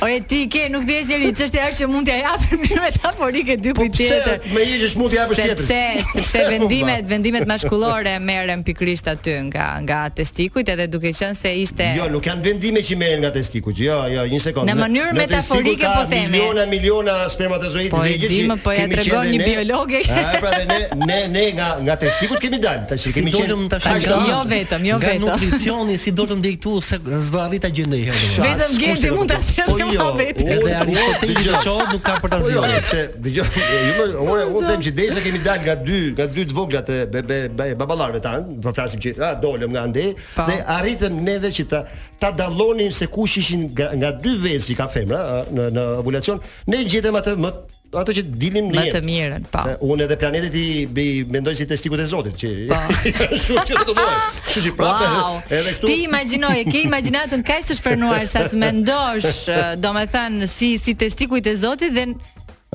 Speaker 9: Ore ti ke, nuk di gjeri, çështja është që mund t'ja japim mirë metaforike dy kujt
Speaker 5: Po Pse
Speaker 9: tjetër.
Speaker 5: me heqësh mund t'i japësh tjetër? Po,
Speaker 9: Sepse sepse vendimet vendimet maskullore merren pikrisht aty nga nga testikujt edhe duke qenë se ishte
Speaker 5: Jo, nuk janë vendime që merren nga testikut. Jo, jo, një sekondë.
Speaker 9: Në mënyrë
Speaker 5: testikut
Speaker 9: metaforike
Speaker 5: ka
Speaker 9: po themi.
Speaker 5: Miliona miliona spermatozoidë
Speaker 9: Po e
Speaker 5: vjegjë
Speaker 9: di,
Speaker 5: që
Speaker 9: më po ja
Speaker 5: kemi
Speaker 9: tregon
Speaker 5: qenë
Speaker 9: një
Speaker 5: ne.
Speaker 9: biologe.
Speaker 5: Ah, pra dhe ne ne ne nga nga testikut kemi dalë. Tash
Speaker 6: Si
Speaker 5: kemi
Speaker 6: dolëm tash
Speaker 5: Ai,
Speaker 6: nga
Speaker 9: Jo vetëm, jo
Speaker 6: nga
Speaker 9: vetëm.
Speaker 6: nutricioni, si dolëm deri këtu se s'do arrita gjë ndonjëherë. domethënë.
Speaker 9: Vetëm
Speaker 5: Askus
Speaker 9: Genti
Speaker 5: e
Speaker 9: mund ta sjellë
Speaker 5: Po jo,
Speaker 9: mua vetë.
Speaker 5: unë-
Speaker 6: Edhe
Speaker 5: unë-
Speaker 6: Aristoteli
Speaker 5: dëgjoj.
Speaker 6: dhe Qo nuk ka për ta
Speaker 5: Po jo,
Speaker 6: zgjuar.
Speaker 5: sepse dëgjoj, ju më ore unë them që derisa kemi dalë nga dy nga dy të vogla të be, be, be, baballarëve tan, po flasim që a dolëm nga ande
Speaker 9: Po.
Speaker 5: dhe arritëm neve që ta ta dallonin se kush ishin nga, nga dy vezë që ka femra a, në në ovulacion, ne gjetëm atë më ato që dilin në
Speaker 9: më të
Speaker 5: jetë.
Speaker 9: mirën, po.
Speaker 5: Se Unë edhe planetet i bi- mendoj si testikut e Zotit që
Speaker 9: Po.
Speaker 5: kështu që do të bëj. Kështu që prapë
Speaker 9: Wow.
Speaker 5: edhe këtu
Speaker 9: Ti imagjino, e ke imagjinatën kaq të shfrenuar sa të mendosh, ë, domethënë si si testikujt e Zotit dhe n-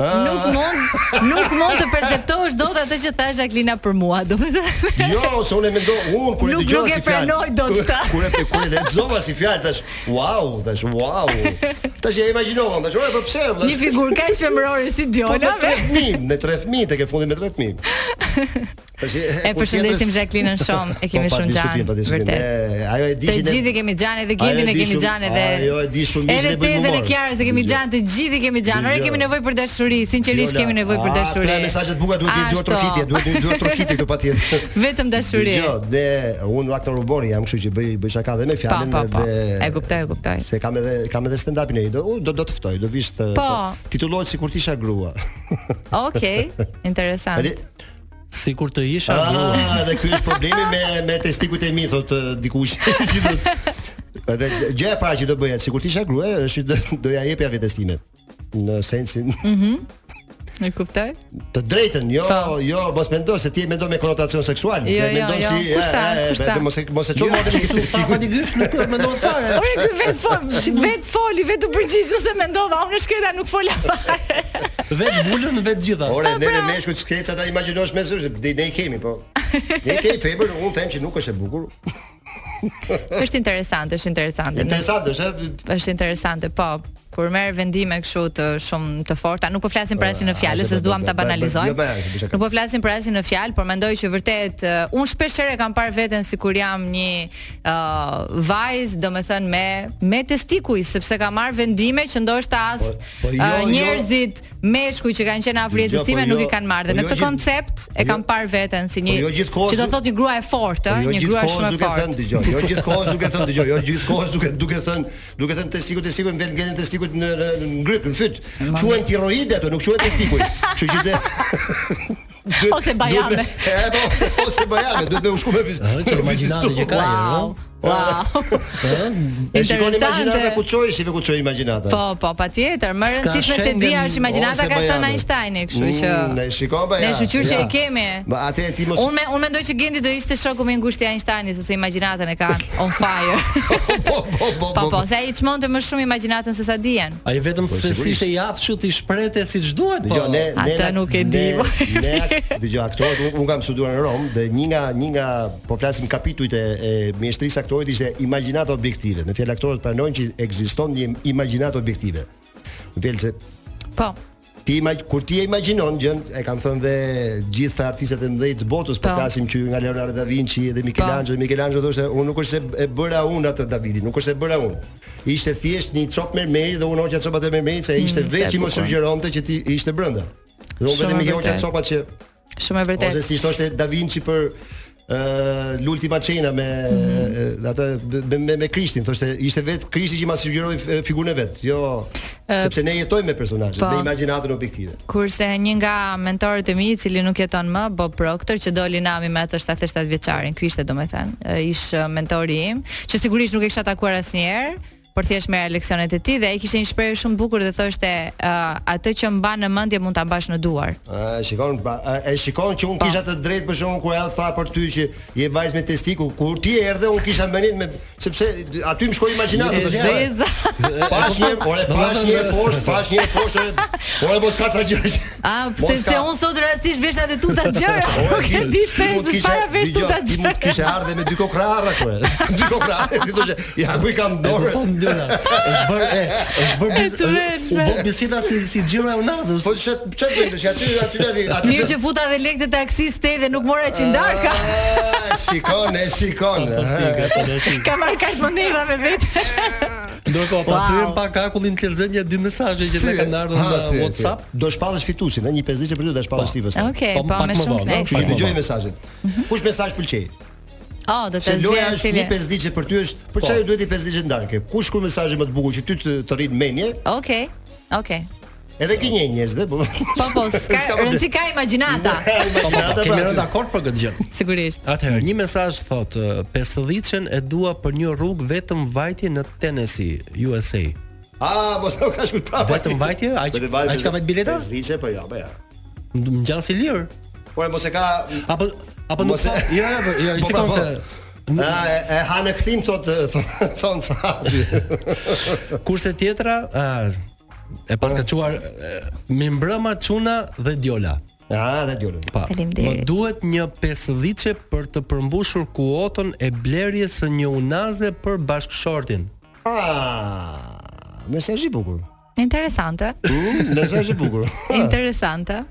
Speaker 5: Ah.
Speaker 9: nuk mund nuk mund të perceptosh dot atë që tha Jacqueline për mua, domethënë.
Speaker 5: Jo, se unë e mendoj, unë kur e
Speaker 9: Nuk-
Speaker 5: dëgjova
Speaker 9: nuk e
Speaker 5: si fjalë.
Speaker 9: prenoj dot
Speaker 5: kur-
Speaker 9: ta.
Speaker 5: Kur e kur e lexova si fjalë tash, wow, tash wow. Tash e imagjinova, tash, ore, po pse?
Speaker 9: Një figurë kaq femërore si
Speaker 5: Po me
Speaker 9: Diona.
Speaker 5: tre fëmijë, me tre fëmijë tek e fundi me tre fëmijë. Tash
Speaker 9: E
Speaker 5: po,
Speaker 9: përshëndesim Jacqueline shumë, e kemi shumë gjanë, vërtet.
Speaker 5: Ajo e di
Speaker 9: Të
Speaker 5: që ne-
Speaker 9: gjithë i kemi gjanë edhe
Speaker 5: Ajo
Speaker 9: Gentin
Speaker 5: e
Speaker 9: e
Speaker 5: di
Speaker 9: kemi
Speaker 5: shumë-
Speaker 9: gjanë edhe
Speaker 5: ajo e di shumë mirë
Speaker 9: Edhe
Speaker 5: dhe bëjmë
Speaker 9: tezën e
Speaker 5: humor.
Speaker 9: Kiarës e kemi
Speaker 5: Dëgjoj.
Speaker 9: gjanë, të gjithë i kemi gjanë. Ore
Speaker 5: Dëgjoj.
Speaker 9: kemi nevojë për dashuri, sinqerisht
Speaker 5: Viola,
Speaker 9: kemi nevojë për
Speaker 5: a,
Speaker 9: dashuri.
Speaker 5: Tre mesazhe të bukura pra, duhet i duhet
Speaker 9: Ashtu.
Speaker 5: trokitje, duhet i duhet trokitje këtu patjetër.
Speaker 9: Vetëm dashuri.
Speaker 5: Jo, dhe unë aktor humori jam, kështu që bëj bëj shaka dhe me
Speaker 9: Po,
Speaker 5: fjalën
Speaker 9: po, po.
Speaker 5: dhe
Speaker 9: E kuptoj, e kuptoj.
Speaker 5: Se kam edhe kam edhe stand upin e ri. Do u, do do të ftoj, do vish të
Speaker 9: Po.
Speaker 5: të- titullohet sikur të isha grua.
Speaker 9: Okej, interesant.
Speaker 5: Edhe
Speaker 6: Sikur të isha grua.
Speaker 5: ah, dhe ky është problemi me me testikut e mi thotë dikush si do. Edhe gjë e parë që do bëja sikur të isha grua është që do, do ja jepja vetes time në sensin
Speaker 9: E kuptoj?
Speaker 5: të drejtën, jo,
Speaker 9: Po.
Speaker 5: jo, mos mendo se ti e mendon me konotacion seksual.
Speaker 9: Jo,
Speaker 5: e
Speaker 9: jo,
Speaker 5: mendon
Speaker 9: jo,
Speaker 5: si e,
Speaker 9: kushta,
Speaker 5: e, e,
Speaker 9: kushta.
Speaker 5: mos e mos e çon morën këtë testikut.
Speaker 6: Automatikisht nuk duhet mendohet fare.
Speaker 9: Ore ky vet fol, vet foli, vet u përgjigj ose mendova, unë shkreta nuk fola fare.
Speaker 6: Vetë bulën, vetë gjitha.
Speaker 5: Ore,
Speaker 9: Po,
Speaker 5: ne në meshkut skeca ta imagjinosh me zyrë, se ne i kemi, po. Ne i kemi femër, unë them që nuk është e bukur.
Speaker 9: Është interesant, është interesante.
Speaker 5: Interesant është, ë?
Speaker 9: Është interesante, po. Kur merr vendime kështu të shumë të forta, nuk po flasim për asin në
Speaker 5: a,
Speaker 9: fjalë,
Speaker 5: se
Speaker 9: se
Speaker 5: po-
Speaker 9: s'duam ta
Speaker 5: po- po-
Speaker 9: banalizoj.
Speaker 5: jo, po, e, kisha ka-
Speaker 9: Nuk po flasim për asin në fjalë, por mendoj që vërtet uh, unë shpesh herë kam parë veten sikur jam një uh, vajzë, domethënë me me testikuj, sepse kam marr vendime që ndoshta as
Speaker 5: Po- po jo,
Speaker 9: uh,
Speaker 5: jo.
Speaker 9: njerëzit meshkuj që kanë qenë afër
Speaker 5: Dëgjoj,
Speaker 9: jetës time
Speaker 5: po
Speaker 9: nuk
Speaker 5: jo-
Speaker 9: i kanë marrë.
Speaker 5: po
Speaker 9: Dhe në
Speaker 5: jo
Speaker 9: këtë
Speaker 5: gjithë-
Speaker 9: koncept
Speaker 5: po
Speaker 9: e kam
Speaker 5: jo-
Speaker 9: parë veten si
Speaker 5: po
Speaker 9: një
Speaker 5: jo po gjithkohë
Speaker 9: që do
Speaker 5: du-
Speaker 9: thotë një grua e fortë, ë, një grua shumë e
Speaker 5: duke thënë
Speaker 9: fortë.
Speaker 5: dëgjoj, jo gjithkohës duke thënë dëgjoj, jo gjithkohës duke duke thënë, duke thënë testikut testikut vjen gjenë testikut në në në ngryp, në fyt. Quhen tiroide ato, nuk quhen testikuj. Kështu që dhe
Speaker 9: Ose bajame.
Speaker 5: duhet me- E po, ose ose bajame, duhet me ushku me fiz.
Speaker 6: Ë, që imagjinate që ka.
Speaker 5: Wow.
Speaker 6: jo?
Speaker 9: Wow.
Speaker 5: Po.
Speaker 9: Wow.
Speaker 5: E shikon imagjinata
Speaker 9: Interesante.
Speaker 5: ku çoi, si ku çoi imagjinata.
Speaker 9: Po, po, patjetër. Më e
Speaker 6: S'ka
Speaker 9: rëndësishme se
Speaker 6: Schengen,
Speaker 9: dia është
Speaker 5: ose
Speaker 9: imagjinata ka
Speaker 5: Bajanin.
Speaker 9: thënë Einsteini, kështu që
Speaker 5: Mm, Ne shikon ba.
Speaker 9: Ne
Speaker 5: ja,
Speaker 9: shqyqyrë që
Speaker 5: ja.
Speaker 9: e kemi.
Speaker 5: Ba atë ti mos
Speaker 9: Unë me, unë mendoj që Gendi do ishte shoku më i ngushtë i Einsteinit sepse imagjinatën e kanë on fire.
Speaker 5: po po
Speaker 9: Po
Speaker 5: po po.
Speaker 9: po, se ai çmonte më shumë imagjinatën se sa dijen.
Speaker 6: Ai vetëm se si
Speaker 5: sigurisht.
Speaker 6: ishte i afshë ti shprehte siç duhet, po.
Speaker 5: Jo, ne ne
Speaker 9: Atë nuk e di, po.
Speaker 5: Ne, ne ak- dëgjoj aktorët, un, un kam studuar në Rom dhe një nga një nga po flasim kapitujt e, e mjeshtrisë aktorit ishte imagjinata objektive. Në fjalë aktorët pranojnë që ekziston një imagjinatë objektive. Në fjalë se
Speaker 9: Po.
Speaker 5: ti imag, kur ti e imagjinon gjën, e kanë thënë dhe gjithë të artistët e mëdhenj të botës, po
Speaker 9: Po.
Speaker 5: flasim që nga Leonardo da Vinci dhe Michelangelo, Michelangelo thoshte, unë nuk është se e bëra unë atë Davidin, nuk është se e bëra unë. Ishte thjesht një cop mermeri dhe unë hoqja copat e mermerit se ishte
Speaker 9: Mm,
Speaker 5: mm,
Speaker 9: sa e
Speaker 5: veç që më
Speaker 9: bukur.
Speaker 5: sugjeronte që ti ishte brenda. Dhe unë
Speaker 9: Shumë
Speaker 5: vetëm
Speaker 9: e
Speaker 5: i ke hoqja
Speaker 9: vërtet.
Speaker 5: copat që
Speaker 9: Shumë e
Speaker 5: ose
Speaker 9: vërtetë.
Speaker 5: si thoshte Da Vinci për ë l'ultima cena me
Speaker 9: Mhm.
Speaker 5: mm. atë me, me, me Krishtin, thoshte ishte vetë Krishti që ma sugjeroi f- figurën e vet, jo
Speaker 9: Ë,
Speaker 5: sepse ne jetojmë me personazhet,
Speaker 9: po.
Speaker 5: me imagjinatën objektive.
Speaker 9: Kurse një nga mentorët e mi, i cili nuk jeton më, Bob Proctor, që doli nami me atë 77 vjeçarin, ky ishte domethënë, e, ish e, mentori im, që sigurisht nuk e kisha takuar asnjëherë, por thjesht merr leksionet e tij dhe ai kishte një shprehje shumë bukur dhe thoshte "Ë, atë që mban në mendje mund ta mbash në duar.
Speaker 5: A, e shikon, ba- a, e shikon që unë kisha të drejtë për shkakun kur ajo tha për ty që je vajzë me testiku, kur ti erdhe unë kisha mendit me sepse aty më shkoi imagjinata të shkoj.
Speaker 9: Zeza.
Speaker 5: Pash një, ore pash një poshtë, pash një poshtë. ore, Ore mos ka ca gjëra. që-
Speaker 9: A, Ah,
Speaker 5: mos
Speaker 9: pse se
Speaker 5: ka-
Speaker 9: unë sot rastisht vesha dhe tuta gjëra.
Speaker 5: Ore,
Speaker 9: Nuk e
Speaker 5: ti-
Speaker 9: di
Speaker 5: ti
Speaker 9: se
Speaker 5: mund të
Speaker 9: se
Speaker 5: kishe-
Speaker 9: para vesh
Speaker 5: dëgjoj,
Speaker 9: tuta
Speaker 5: Ti mund të kishe
Speaker 9: gjëra.
Speaker 5: ardhe me dy kokrarra ku. Dy kokrarra, ti thoshe, ja ku i kam
Speaker 6: E
Speaker 5: dorë.
Speaker 6: kupton dyra. Është bër e është bër
Speaker 9: E të
Speaker 6: bis- u
Speaker 9: veshme.
Speaker 6: bë biseda si si xhiro e unazës.
Speaker 5: Po çet çet vetë, që aty aty aty. aty-
Speaker 9: Mirë që futa dhe lekët e taksis te dhe nuk mora qindarka.
Speaker 5: Ah, Shikon, e shikon.
Speaker 6: Fantastike, fantastike.
Speaker 9: Ka marrë kaq monedha me vetë.
Speaker 6: Ndërkohë, pa
Speaker 9: Wow.
Speaker 6: thyrëm pa kakullin të lexojmë ja dy mesazhe që na kanë ardhur
Speaker 5: Ha,
Speaker 6: në
Speaker 5: thyre,
Speaker 6: WhatsApp.
Speaker 5: thyre. Do shpallësh fitusin, ëh, një pesdhiçe për ty do shpallësh ti pastaj.
Speaker 9: Okej,
Speaker 6: Po,
Speaker 9: po
Speaker 6: pak
Speaker 9: me
Speaker 6: më
Speaker 9: shumë
Speaker 6: vonë,
Speaker 9: knejsh.
Speaker 5: Ju
Speaker 6: Pak më
Speaker 5: dëgjoj mesazhet. Kush mesazh pëlqej?
Speaker 9: Oh, do
Speaker 5: Se
Speaker 9: të
Speaker 5: loja
Speaker 9: zgjedh
Speaker 5: është
Speaker 9: cili.
Speaker 5: një pesdhiçe për ty është,
Speaker 6: Po.
Speaker 5: për çfarë duhet i pesdhiçe ndarke? Kush kur mesazhe më të bukur që ty të, të rrit mendje,
Speaker 9: Okej. Okej.
Speaker 5: edhe gënjen njerëz, dhe po.
Speaker 9: Po po, s'ka
Speaker 5: S'ka problem.
Speaker 9: rëndsi ka imagjinata,
Speaker 6: Po, po,
Speaker 5: Imagjinata
Speaker 6: Kemi
Speaker 5: pra.
Speaker 6: rënë dakord për këtë gjë.
Speaker 9: sigurisht.
Speaker 6: Atëherë, një mesazh thot, "Ë, 50-shën e dua për një rrugë vetëm vajtje në Tennessee, USA.
Speaker 5: Ah, mos e ka shkut prapë.
Speaker 6: Vetëm vajtje? Aq-
Speaker 5: Vetëm vajtje,
Speaker 6: aq ka vetë bileta?
Speaker 5: Pesdhiçe, po jo, po jo.
Speaker 6: Më gjanë si lirë.
Speaker 5: Por mos e ka
Speaker 6: Apo apo nuk
Speaker 5: Mos e-
Speaker 6: ka. Jo, jo, po, jo,
Speaker 5: Po, po,
Speaker 6: sikon
Speaker 5: po.
Speaker 6: se
Speaker 5: A, e, e ha në kthim thot thon- thon sa.
Speaker 6: kurse tjetra, a, e pas ka çuar e, me mbrëma çuna dhe djola.
Speaker 5: Ah, dhe djolën.
Speaker 6: Pa.
Speaker 9: Faleminderit.
Speaker 6: Më duhet një 50-çe për të përmbushur kuotën e blerjes së një unaze për bashkëshortin.
Speaker 5: Ah, mesazh i bukur.
Speaker 9: Interesante.
Speaker 5: Mm, mesazh i bukur.
Speaker 9: Interesante.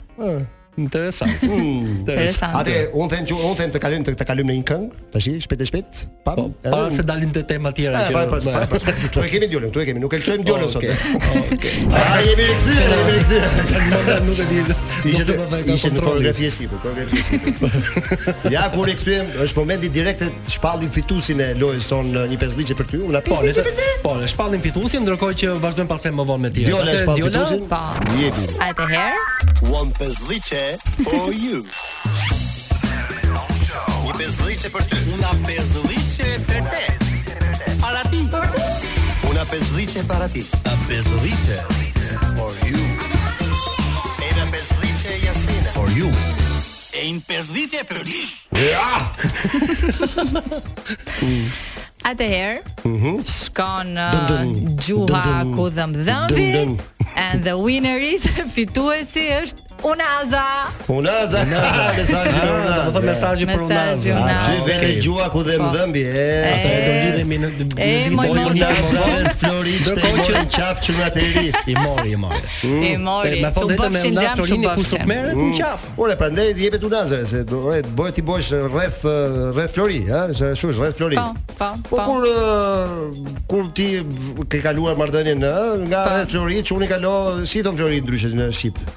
Speaker 6: Interesant.
Speaker 5: Mm. Atë
Speaker 9: Interesante.
Speaker 5: un them që un them të kalojmë të, të kalojmë në një këngë, tash shpejt e shpejt, pam.
Speaker 6: Po, pa
Speaker 5: edhe-
Speaker 6: se dalim te tema tjera
Speaker 5: E,
Speaker 6: që.
Speaker 5: pa, pa, pa, pa, pa. Tu e kemi djolën, tu e kemi, nuk e lçojmë djolën sot.
Speaker 6: Okej,
Speaker 5: Okej. Ah, jemi rikthyer, jemi rikthyer.
Speaker 6: nuk e di.
Speaker 5: Ishte
Speaker 6: Ishte
Speaker 5: ishte në
Speaker 6: kontrolin.
Speaker 5: koreografi e sipër, koreografi e sipër. ja kur rikthyem, është momenti direkt të shpallim fitusin e lojës son në një pesdhiçe për ty, una
Speaker 6: Po, le
Speaker 5: pesdhiçe
Speaker 6: të
Speaker 5: për ty.
Speaker 6: po, le shpallim fituesin ndërkohë që vazhdojmë pastaj më vonë me tjerë.
Speaker 5: Djola e
Speaker 6: Atëherë,
Speaker 5: shpall
Speaker 6: Djola,
Speaker 5: fitusin.
Speaker 9: Po.
Speaker 5: Jepi.
Speaker 9: Atëherë,
Speaker 7: One pesdhice for you. Një pesdhice për ty. Una pesdhice për te. Para ti. Una pesdhice para ti. A pesdhice for you. Una pesdhice Jasina. For you. E një pesdhice për ti.
Speaker 9: atëherë.
Speaker 5: Mhm.
Speaker 9: Shkon uh,
Speaker 5: Dun, dun.
Speaker 9: gjuha
Speaker 5: Dun, dun.
Speaker 9: ku dhëm dhëmbi
Speaker 5: Dun, dun.
Speaker 9: and the winner is fituesi është Unaza.
Speaker 5: Unaza, mesazhi në
Speaker 6: Ah, do të thotë
Speaker 5: Unaza.
Speaker 6: mesazhi për
Speaker 9: Mesazhi
Speaker 6: Unazë.
Speaker 9: Unazë.
Speaker 5: Ty
Speaker 9: Ah,
Speaker 5: vetë gjua ku dhe më dhëmbi, e.
Speaker 6: Do të lidhemi në
Speaker 9: E, moj mota.
Speaker 5: Unaza, floriste,
Speaker 6: Ndërkohë që-
Speaker 5: që qafë që nga të ri.
Speaker 6: I mori, i mori.
Speaker 5: Mm.
Speaker 9: E mori.
Speaker 6: Ma
Speaker 9: u
Speaker 6: thonë vetëm me
Speaker 9: bëfshin
Speaker 6: Unazë
Speaker 9: gjamë,
Speaker 6: Florini
Speaker 9: shumë
Speaker 6: ku sot
Speaker 9: bëfshin.
Speaker 6: merret në qaf.
Speaker 5: Ore, prandaj jepet Unazave se ore bëhet ti bosh rreth rreth Flori, ha, se shush rreth Flori.
Speaker 9: Po, po,
Speaker 5: Po
Speaker 9: po.
Speaker 5: kur ë, kur ti v- ke kaluar marrëdhënien ë, nga
Speaker 9: Po.
Speaker 5: rreth Flori, çuni kalo si thon Flori ndryshe në shqip.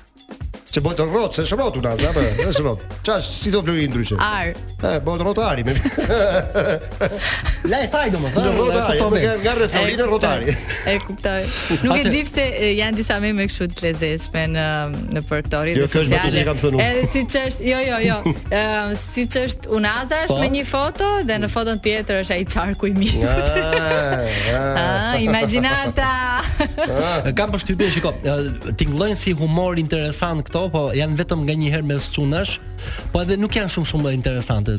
Speaker 5: Që bëhet rrot, se shërot unë asë, apo, është rrot. Çfarë si do flori ndryshe?
Speaker 9: Ar.
Speaker 5: E, bëhet rrotari. me-
Speaker 6: La e thaj domethënë.
Speaker 5: Në rrotari,
Speaker 6: kupton
Speaker 5: me
Speaker 6: mirë.
Speaker 5: nga- nga reflori në rrotari.
Speaker 9: E kuptoj. Nuk e
Speaker 6: Atë-
Speaker 9: di pse e, janë disa meme kështu të lezetshme në në për këto rrjete
Speaker 5: Jo, kjo është vetëm një kam thënë unë.
Speaker 9: Edhe siç është, jo, jo, jo. Ëm siç është Unaza është
Speaker 6: Po.
Speaker 9: me një foto dhe në foton tjetër është ai qarku i mirë.
Speaker 5: Ah, ah.
Speaker 9: Ah, imagjinata.
Speaker 6: Kam përshtypjen, shiko, ë, tingëllojnë si humor interesant këto, po janë vetëm nga një herë mes çunash, po edhe nuk janë shumë shumë interesante.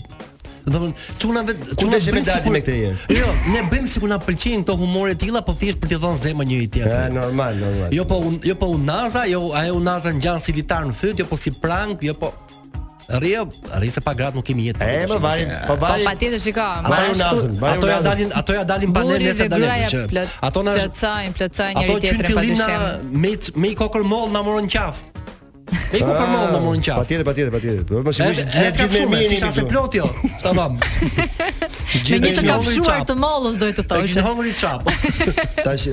Speaker 6: Domthon çunave çuna
Speaker 5: deshe me dalti me këtë herë?
Speaker 6: Jo, ne bëjmë sikur na pëlqejnë këto humore të tilla, po thjesht për t'i dhënë zemër
Speaker 5: E,
Speaker 6: njëri tjetrit.
Speaker 5: normal, normal.
Speaker 6: Jo po un, jo po unaza, jo ajo unaza ngjan si litar në fyt, jo po si prank, jo po Rria, rri se pa gratë nuk kemi jetë.
Speaker 5: E, më vari, po
Speaker 9: Po
Speaker 5: vari.
Speaker 9: patjetër shiko,
Speaker 5: Ata ju
Speaker 9: bashku.
Speaker 5: nazën, vari
Speaker 6: Ato ja
Speaker 5: unazën.
Speaker 6: dalin, ato ja dalin banë
Speaker 9: Burri
Speaker 6: nëse
Speaker 9: dhe
Speaker 6: dalin.
Speaker 9: gruaja
Speaker 6: që
Speaker 9: plot,
Speaker 6: Ato na
Speaker 9: plotsojnë, plotsojnë
Speaker 6: Ato
Speaker 9: njëri
Speaker 6: që në
Speaker 9: tjetrin
Speaker 6: fillim na
Speaker 9: padyshim.
Speaker 6: me i- me i kokër moll na morën qaf. Me i kokër moll na morën qaf.
Speaker 5: Patjetër, patjetër, patjetër. Po mos
Speaker 6: Edhe
Speaker 5: sigurisht
Speaker 6: edhe ka
Speaker 5: gjithë
Speaker 6: shumë,
Speaker 5: me
Speaker 6: si
Speaker 5: mirë.
Speaker 6: shase plot jo. Tamam.
Speaker 9: Me një të
Speaker 6: Gjithë
Speaker 9: kafshuar
Speaker 6: qafin
Speaker 9: të mollës doj të
Speaker 6: E kishin
Speaker 9: thoshe.
Speaker 6: hongri qap.
Speaker 5: Tash,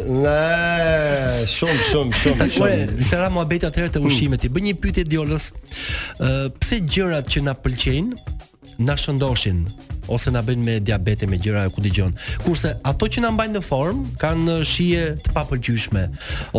Speaker 5: ne, shumë, shumë, shumë,
Speaker 6: Ore,
Speaker 5: shumë.
Speaker 6: Po, se ra muhabet atëherë
Speaker 9: Hmm.
Speaker 6: te ushimet. I bën një pyetje djolës. Ë, pse gjërat që na pëlqejnë na shëndoshin ose na bëjnë me diabete me gjëra ku dëgjon. Kurse ato që na mbajnë në formë kanë ë, shije të papëlqyeshme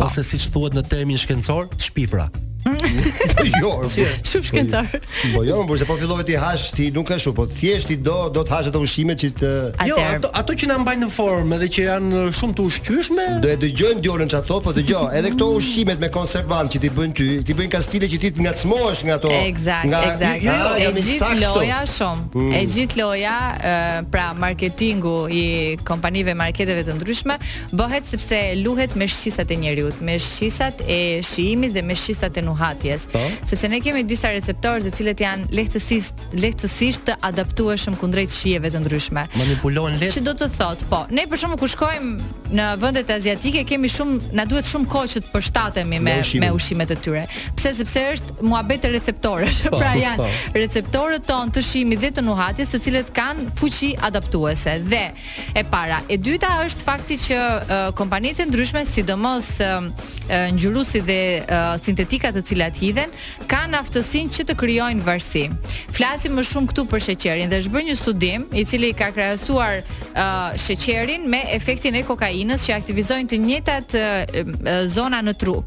Speaker 6: ose siç thuhet në termin shkencor, shpifra.
Speaker 5: Jo,
Speaker 9: Shumë shkencor.
Speaker 5: po jo, por se po fillove ti hash, ti nuk ka shumë, po thjesht ti do do të hash ato ushqime që të
Speaker 6: Jo,
Speaker 9: Atëherë.
Speaker 6: ato ato që na mbajnë në formë edhe që janë shumë të ushqyeshme,
Speaker 5: do e dëgjojmë djolën çato, po dëgjoj, edhe këto ushqimet me konservant që ti bën ty, ti bëjnë kastile që ti të ngacmohesh nga ato.
Speaker 9: Eksakt, eksakt.
Speaker 5: Jo, jo,
Speaker 9: e
Speaker 5: jam i
Speaker 9: gjithë
Speaker 5: saktë.
Speaker 9: loja shumë.
Speaker 6: Mm.
Speaker 9: E gjithë loja, ë, pra marketingu i kompanive marketeve të ndryshme bëhet sepse luhet me shqisat e njeriu, me shqisat e shijimit dhe me shqisat e nuhatjes.
Speaker 6: Po.
Speaker 9: Sepse ne kemi disa receptorë të cilët janë lehtësisht lehtësisht të adaptueshëm kundrejt shijeve të ndryshme.
Speaker 6: manipulohen
Speaker 9: Që
Speaker 6: lehtë.
Speaker 9: do të thotë, po, ne për shkakun ku shkojmë në vendet aziatike kemi shumë na duhet shumë kohë që të përshtatemi me
Speaker 5: Me
Speaker 9: me
Speaker 5: ushqimin.
Speaker 9: ushqimet e tyre. Pse sepse është muhabet e receptorësh.
Speaker 6: Po,
Speaker 9: pra janë
Speaker 6: po.
Speaker 9: receptorët tonë të shimit dhe të nuhatjes, të cilët kanë fuqi adaptuese. Dhe e para, e dyta është fakti që uh, kompanitë e ndryshme, sidomos uh, ngjyruesi dhe uh, sintetika të cilat hidhen, kanë aftësinë që të krijojnë varësi. Flasim më shumë këtu për sheqerin dhe është bërë një studim i cili ka krahasuar uh, sheqerin me efektin e kokainës që aktivizojnë të njëjtat uh, uh, zona në tru.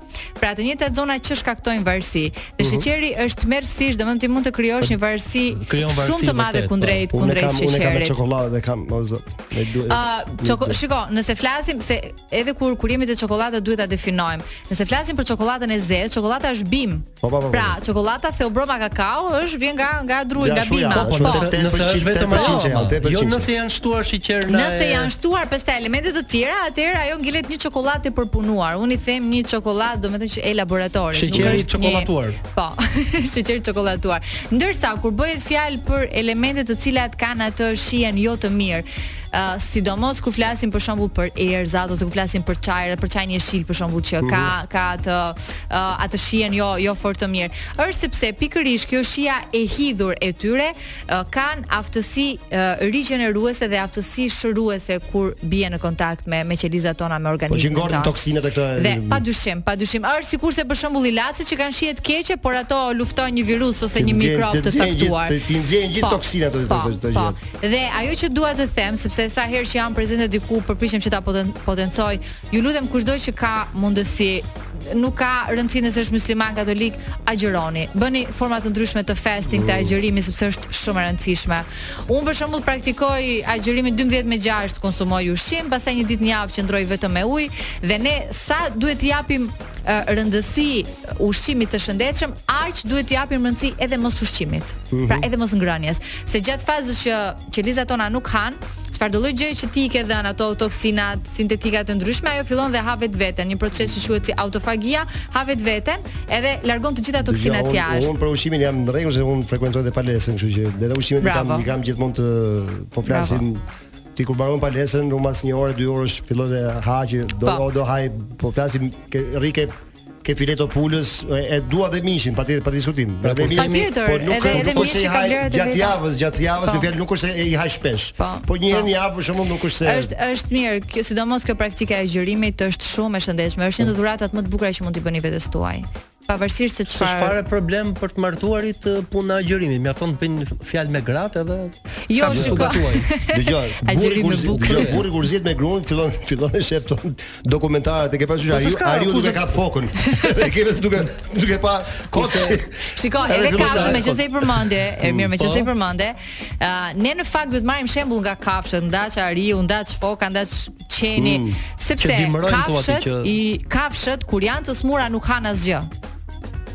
Speaker 9: Pra të njëjtat zona që shkaktojnë varësi. Dhe
Speaker 5: Mhm.
Speaker 9: sheqeri është merrësisht, domethënë ti mund të krijosh një varësi
Speaker 6: Krijon varësi
Speaker 9: shumë të madhe
Speaker 6: vërtet, po.
Speaker 9: kundrejt
Speaker 5: Unë
Speaker 9: kundrejt
Speaker 5: kam, unë kam me
Speaker 9: sheqerit.
Speaker 5: çokoladë dhe kam, o zot. Me duhet.
Speaker 9: Uh, çoko, shiko, nëse flasim se edhe kur kurimit e çokoladës duhet ta definojmë. Nëse flasim për çokoladën e zezë, çokolada është bim.
Speaker 5: Po, po, po, po.
Speaker 9: Pra, çokolada theobroma kakao është vjen nga nga druri, nga
Speaker 5: shuja,
Speaker 9: bima.
Speaker 5: po,
Speaker 6: Po,
Speaker 5: po,
Speaker 6: nëse
Speaker 5: po.
Speaker 6: nëse është vetëm
Speaker 5: 8%,
Speaker 6: aqinçe,
Speaker 5: 8%.
Speaker 6: jo nëse janë shtuar sheqer në
Speaker 9: Nëse janë shtuar pastaj elemente të tjera, atëherë ajo ngelet një çokoladë e përpunuar. Unë i them një çokoladë, domethënë që e laboratorit. nuk
Speaker 6: Sheqeri
Speaker 9: është
Speaker 6: çokolatuar.
Speaker 9: Një... Po, sheqer çokolatuar. Ndërsa kur bëhet fjalë për elemente të cilat kanë atë shijen jo të mirë, Uh, sidomos kur flasim për shembull për erzat ose kur flasim për çajra, për çajin jeshil për shembull që ka
Speaker 5: Mhm.
Speaker 9: ka atë uh, atë shijen jo jo fort të mirë. Është sepse pikërisht kjo shija e hidhur e tyre uh, kanë aftësi uh, rigjeneruese dhe aftësi shëruese kur bie në kontakt me me qelizat tona me
Speaker 5: Po që
Speaker 9: organizmin
Speaker 5: ngordin toksinat e këto.
Speaker 9: Dhe padyshim, padyshim është sikurse për shembull ilaçet që kanë shije të keqe, por ato luftojnë një virus ose një
Speaker 5: Ti nxjerrin-
Speaker 9: mikrob
Speaker 5: ti
Speaker 9: të
Speaker 5: nxjerrin gjithë-
Speaker 9: caktuar.
Speaker 5: ti- ti nxjerrin gjithë
Speaker 9: Po,
Speaker 5: toksinat ato-
Speaker 9: po,
Speaker 5: ato- ato
Speaker 9: po.
Speaker 5: gjë.
Speaker 9: Dhe ajo që dua të them, sepse sa herë që jam prezente diku, përpiqem që ta poten- potencoj. Ju lutem kushdo që ka mundësi, nuk ka rëndësi nëse është musliman katolik, agjeroni. Bëni forma të ndryshme të fasting, të agjerimi sepse është shumë e rëndësishme. Unë për shembull praktikoj agjerimin 12 me 6, konsumoj ushqim, pastaj një ditë në javë qëndroj vetëm me ujë dhe ne sa duhet të japim e, rëndësi ushqimit të shëndetshëm, aq duhet të japim rëndësi edhe mos ushqimit. Pra edhe mos ngrënies, se gjatë fazës që qelizat tona nuk han, çfarë do lloj gjëje që ti i ke dhënë ato toksinat, sintetikat të ndryshme, ajo fillon dhe ha vetveten, një proces që quhet si autofagia, ha vetveten edhe largon të gjitha toksinat jashtë.
Speaker 5: Unë për ushqimin jam në rregull se unë frekuentoj edhe palesën, kështu që edhe ushqimin i kam
Speaker 9: Bravo.
Speaker 5: i kam gjithmonë të po flasim ti kur mbaron palesën, unë mas një orë, dy orësh filloj të ha që do
Speaker 9: Po.
Speaker 5: o, do haj, po flasim ke rike ke fileto pulës e, e dua dhe mishin patjetër pa diskutim. Edhe mishi-
Speaker 9: Patjetër, edhe- edhe
Speaker 5: nuk është se
Speaker 9: mishi
Speaker 5: i
Speaker 9: ka
Speaker 5: haj
Speaker 9: vlerat e
Speaker 5: gjatë
Speaker 9: veta.
Speaker 5: javës, gjatë javës,
Speaker 9: Po.
Speaker 5: me fjalë nuk është se i haj shpesh.
Speaker 9: Po,
Speaker 5: Po një herë
Speaker 9: po.
Speaker 5: në javë për shembull nuk është se
Speaker 9: Është është mirë, kjo sidomos kjo praktika e agjërimit është shumë e shëndetshme. Është një nga dhuratat më të bukura që mund t'i bëni vetes tuaj. Pa pavarësisht se
Speaker 6: S'është
Speaker 9: çfarë.
Speaker 6: fare problem për të martuarit ë, puna e agjerimit. Mjafton të bëjnë fjalë me gratë edhe
Speaker 9: Jo,
Speaker 6: s'ka
Speaker 9: shiko.
Speaker 6: të gatuaj.
Speaker 5: Dëgjoj, burri
Speaker 9: Agjeri me
Speaker 5: kur
Speaker 9: bukë.
Speaker 5: dëgjoj, burri kur zihet me gruan fillon fillon e shef ton dokumentaret e ke pasur
Speaker 6: Po se
Speaker 5: ariu
Speaker 6: s'ka,
Speaker 5: ariu
Speaker 6: ku
Speaker 5: duke
Speaker 6: do-
Speaker 5: ka fokun. E ke vetëm duke duke pa kocë.
Speaker 9: Shiko, edhe kafshë me qëse i përmendje, Ermir me qëse i
Speaker 6: po.
Speaker 9: përmendje, ë, ne në fakt duhet marrim shembull nga kafshët, nda ariu, nda foka, nda qeni, sepse
Speaker 6: Mm. Që dimërojnë thua ti
Speaker 9: kafshët
Speaker 6: që-
Speaker 9: i kafshët kur janë të smura nuk kanë asgjë.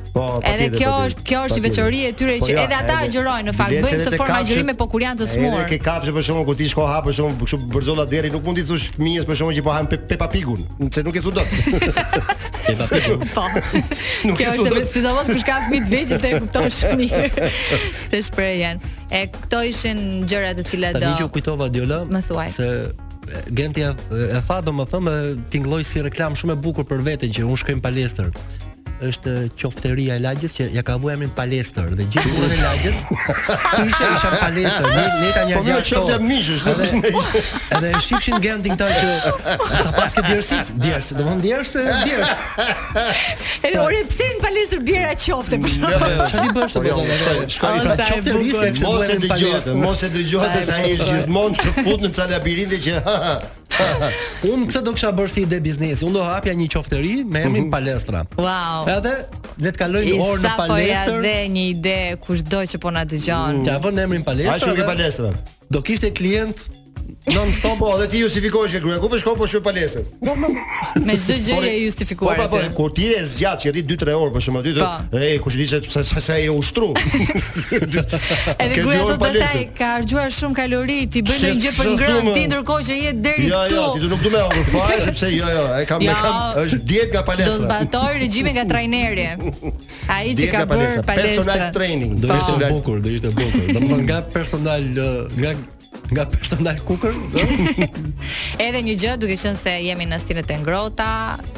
Speaker 5: Po, pa
Speaker 9: Edhe
Speaker 5: tjetër,
Speaker 9: kjo
Speaker 5: pa tjetër,
Speaker 9: është kjo është
Speaker 5: pa
Speaker 9: i veçori e
Speaker 5: tjetër.
Speaker 9: tyre
Speaker 5: Po
Speaker 9: që
Speaker 5: ja,
Speaker 9: edhe ata
Speaker 5: edhe-
Speaker 9: agjerojnë në fakt,
Speaker 5: biles
Speaker 9: bëjnë
Speaker 5: edhe
Speaker 9: këtë
Speaker 5: te
Speaker 9: formë
Speaker 5: kafshët-
Speaker 9: agjerime po kur janë të
Speaker 5: Edhe
Speaker 9: smurë.
Speaker 5: ke kafshë për shkakun kur ti shko hap për shkakun kështu bërzolla deri nuk mund t'i thosh fëmijës për shkakun që po han pe, pe papigun, se nuk e thu dot.
Speaker 9: Po.
Speaker 5: Nuk
Speaker 9: Kjo
Speaker 5: e
Speaker 9: është
Speaker 5: kuptoj.
Speaker 9: vetë sidomos për shkak fëmijë të vegjël të e kuptosh mirë. Të shpreh janë. E këto ishin gjërat të cilat
Speaker 6: Tani që u
Speaker 9: do.
Speaker 6: kujtova Diola
Speaker 9: Më thuaj.
Speaker 6: se e, Genti e, e tha domethënë dhe tingëlloj si reklam shumë e bukur për veten që unë shkoj në palestër është e, qofteria e lagjës që ja ka vënë emrin palestër dhe gjithë punën e lagjës ishte isha në palestër ne ne ta një
Speaker 5: Po më qoftë jam mishësh, nuk është
Speaker 6: Edhe- Edhe e shifshin Gentin këta që sa pas ke djersit, djers, domthon djers të djers.
Speaker 9: E ore pse në palestër bjera qofte
Speaker 6: Mm.
Speaker 9: për shkak?
Speaker 6: Çfarë ti bësh
Speaker 5: Po jo, shkoj, shkoj
Speaker 9: O,
Speaker 5: pra
Speaker 9: sa e
Speaker 5: qoftë
Speaker 6: bukur.
Speaker 5: se mos e dëgjohet, mos e dëgjohet
Speaker 9: Sa e
Speaker 5: se ai është gjithmonë të fut në ca labirinte që ha, ha, ha.
Speaker 6: Unë këtë do kisha bërë si ide biznesi. Unë do hapja një qofteri me emrin
Speaker 5: Mhm.
Speaker 6: Palestra.
Speaker 9: Wow.
Speaker 6: Edhe le të kalojnë
Speaker 9: I
Speaker 6: orë në
Speaker 9: sa po ja
Speaker 6: Palestër.
Speaker 9: dhe një ide kushdo që po na dëgjon.
Speaker 6: Ja vën emrin
Speaker 5: Ai
Speaker 6: Palestra.
Speaker 5: shoku i
Speaker 6: dhe
Speaker 5: palestrave.
Speaker 6: Do kishte klient non stop.
Speaker 5: Po, dhe ti justifikohesh ke gruaja. Ku po shkon po shoj palestër?
Speaker 9: Me çdo gjë
Speaker 5: Po,
Speaker 9: je
Speaker 5: e- Po
Speaker 9: justifikuar
Speaker 5: pra, po,
Speaker 9: aty.
Speaker 5: kur ti je zgjat që rri 2-3 orë për shkak aty, të-
Speaker 9: Po.
Speaker 5: e kush i di se se se- se e ushtru.
Speaker 9: Edhe
Speaker 5: po, Ke dy
Speaker 9: gruaja
Speaker 5: orë
Speaker 9: thotë do
Speaker 5: palestër.
Speaker 9: taj ka harxuar shumë kalori, ti bën
Speaker 5: Se
Speaker 9: ndonjë gjë për
Speaker 5: ç'do
Speaker 9: ngrënë,
Speaker 5: thumë?
Speaker 9: ti ndërkohë që je deri
Speaker 5: Ja, ja, Jo, ti
Speaker 9: këtu.
Speaker 5: do nuk du me orë fare sepse jo, jo, e kam e
Speaker 9: Ja.
Speaker 5: kam është diet nga
Speaker 9: Do
Speaker 5: palestra.
Speaker 9: zbatoj regjimin nga trajneri. Ai që
Speaker 5: Diet
Speaker 9: ka
Speaker 5: nga
Speaker 9: bërë
Speaker 5: palestra, personal
Speaker 9: palestra.
Speaker 5: training.
Speaker 6: Do ishte
Speaker 5: Personal-
Speaker 6: bukur, do ishte bukur. Domethënë nga personal ë, nga nga personal cooker, ë,
Speaker 9: Edhe një gjë, duke qenë se jemi në stilet e ngrota,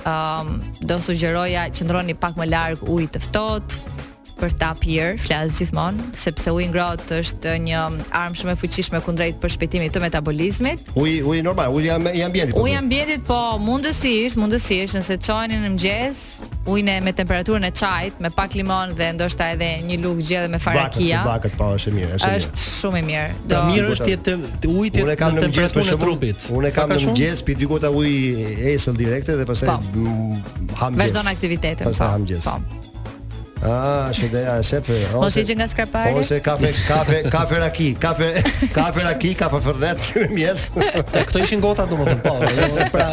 Speaker 9: ëm do sugjeroja qëndroni pak më larg ujit të ftohtë për ta pirë, flas gjithmonë, sepse uji i ngrohtë është një armë shumë e fuqishme kundrejt përshpejtimit të metabolizmit.
Speaker 5: Uji, uji normal, uji jam jam bjendi.
Speaker 9: Uji i ambientit po mundësisht, mundësisht nëse çojeni në mëngjes, ujin e me temperaturën e çajit, me pak limon dhe ndoshta edhe një lugë gjellë me farakia,
Speaker 5: Bakët po është e mirë, është. e mirë.
Speaker 9: është shumë i mirë. Do
Speaker 6: do mirë është jetë ujit
Speaker 5: Unë e kam në mëngjes për
Speaker 6: temperaturën e
Speaker 5: shembull.
Speaker 6: trupit.
Speaker 5: Unë e kam
Speaker 6: Ka
Speaker 5: në
Speaker 6: ka shumë?
Speaker 5: mëngjes pi dy gota ujë esël direkte dhe pastaj
Speaker 9: Po.
Speaker 5: mm, ham mëngjes.
Speaker 9: vazhdon aktivitetin.
Speaker 5: Pastaj
Speaker 9: po,
Speaker 5: ham mëngjes.
Speaker 9: po.
Speaker 5: Ah, shëdeja e shef.
Speaker 9: Mos i që nga skrapari?
Speaker 5: Ose kafe, kafe, kafe raki, kafe, kafe raki, kafe fernet në mjes.
Speaker 6: E, Këto ishin gota domethënë, po. jo, Pra,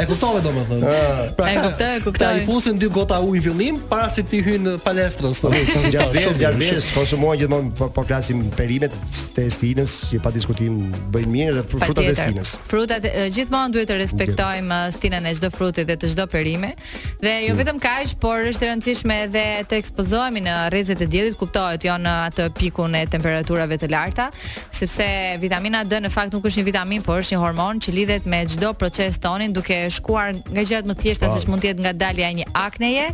Speaker 6: e kuptove domethënë. Pra,
Speaker 9: E kuptoj, e kuptoj.
Speaker 6: këta i fusin dy gota ujë në fillim para se ti hyn në palestrën sot.
Speaker 5: Gjatë
Speaker 6: Shumë mirë,
Speaker 5: gjatë konsumohen gjithmonë po, po flasim perimet të estinës që pa diskutim bëjnë mirë dhe fru- frutat e
Speaker 9: Patjetër.
Speaker 5: estinës.
Speaker 9: Frutat e, gjithmonë duhet të respektojmë e, stinën e çdo fruti dhe të çdo perime. Dhe
Speaker 5: Mm.
Speaker 9: jo vetëm kaq, por është e rëndësishme edhe të ekspozohemi në rrezet e diellit, kuptohet, jo në atë pikun e temperaturave të larta, sepse vitamina D në fakt nuk është një vitamin, por është një hormon që lidhet me çdo proces tonin, duke shkuar nga gjërat më të thjeshta siç mund të jetë ngadalja e një akneje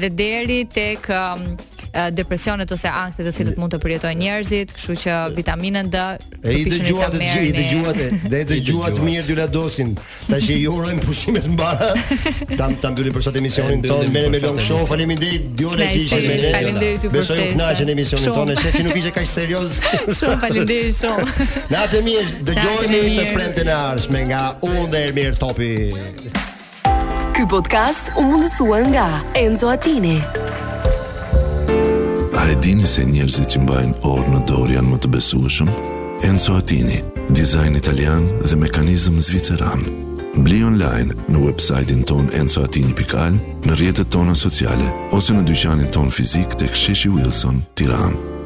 Speaker 9: dhe deri tek um, e, depresionet ose anktet të cilët mund të përjetojnë njerëzit, kështu që vitaminën D
Speaker 5: E i
Speaker 9: përpiqeni ta
Speaker 5: dëgjuat, e dëgju- i
Speaker 9: merrni.
Speaker 5: dëgjuat, e- dhe i dëgjuat mirë dy ladosin. Tash i urojmë pushimet mbara. Tam tam mbyllim për sot emisionin
Speaker 6: E,
Speaker 5: tonë.
Speaker 6: mbyllim
Speaker 5: Merrem me
Speaker 6: për sot
Speaker 5: long show.
Speaker 6: emisionin.
Speaker 5: Faleminderit Dione që ishte me ne.
Speaker 9: Faleminderit, faleminderit ju për
Speaker 5: Besoj u
Speaker 9: ftesën.
Speaker 5: kënaqën emisionin
Speaker 9: Shumë.
Speaker 5: tonë. Shefi nuk ishte kaq serioz.
Speaker 9: Shumë faleminderit shumë.
Speaker 5: Natë e mirë, dëgjojeni
Speaker 9: Natë e
Speaker 5: të
Speaker 9: mirë.
Speaker 5: premten e arshme nga unë dhe Ermir Topi.
Speaker 1: Ky podcast u mundësua nga Enzo Attini.
Speaker 2: A e dini se njerëzit që mbajnë orë në dorë janë më të besueshëm? Enzo Attini, dizajn italian dhe mekanizëm zviceran. Bli online në website-in ton enzoatini.al, në rjetët tona sociale, ose në dyqanin ton fizik të ksheshi Wilson, tiranë.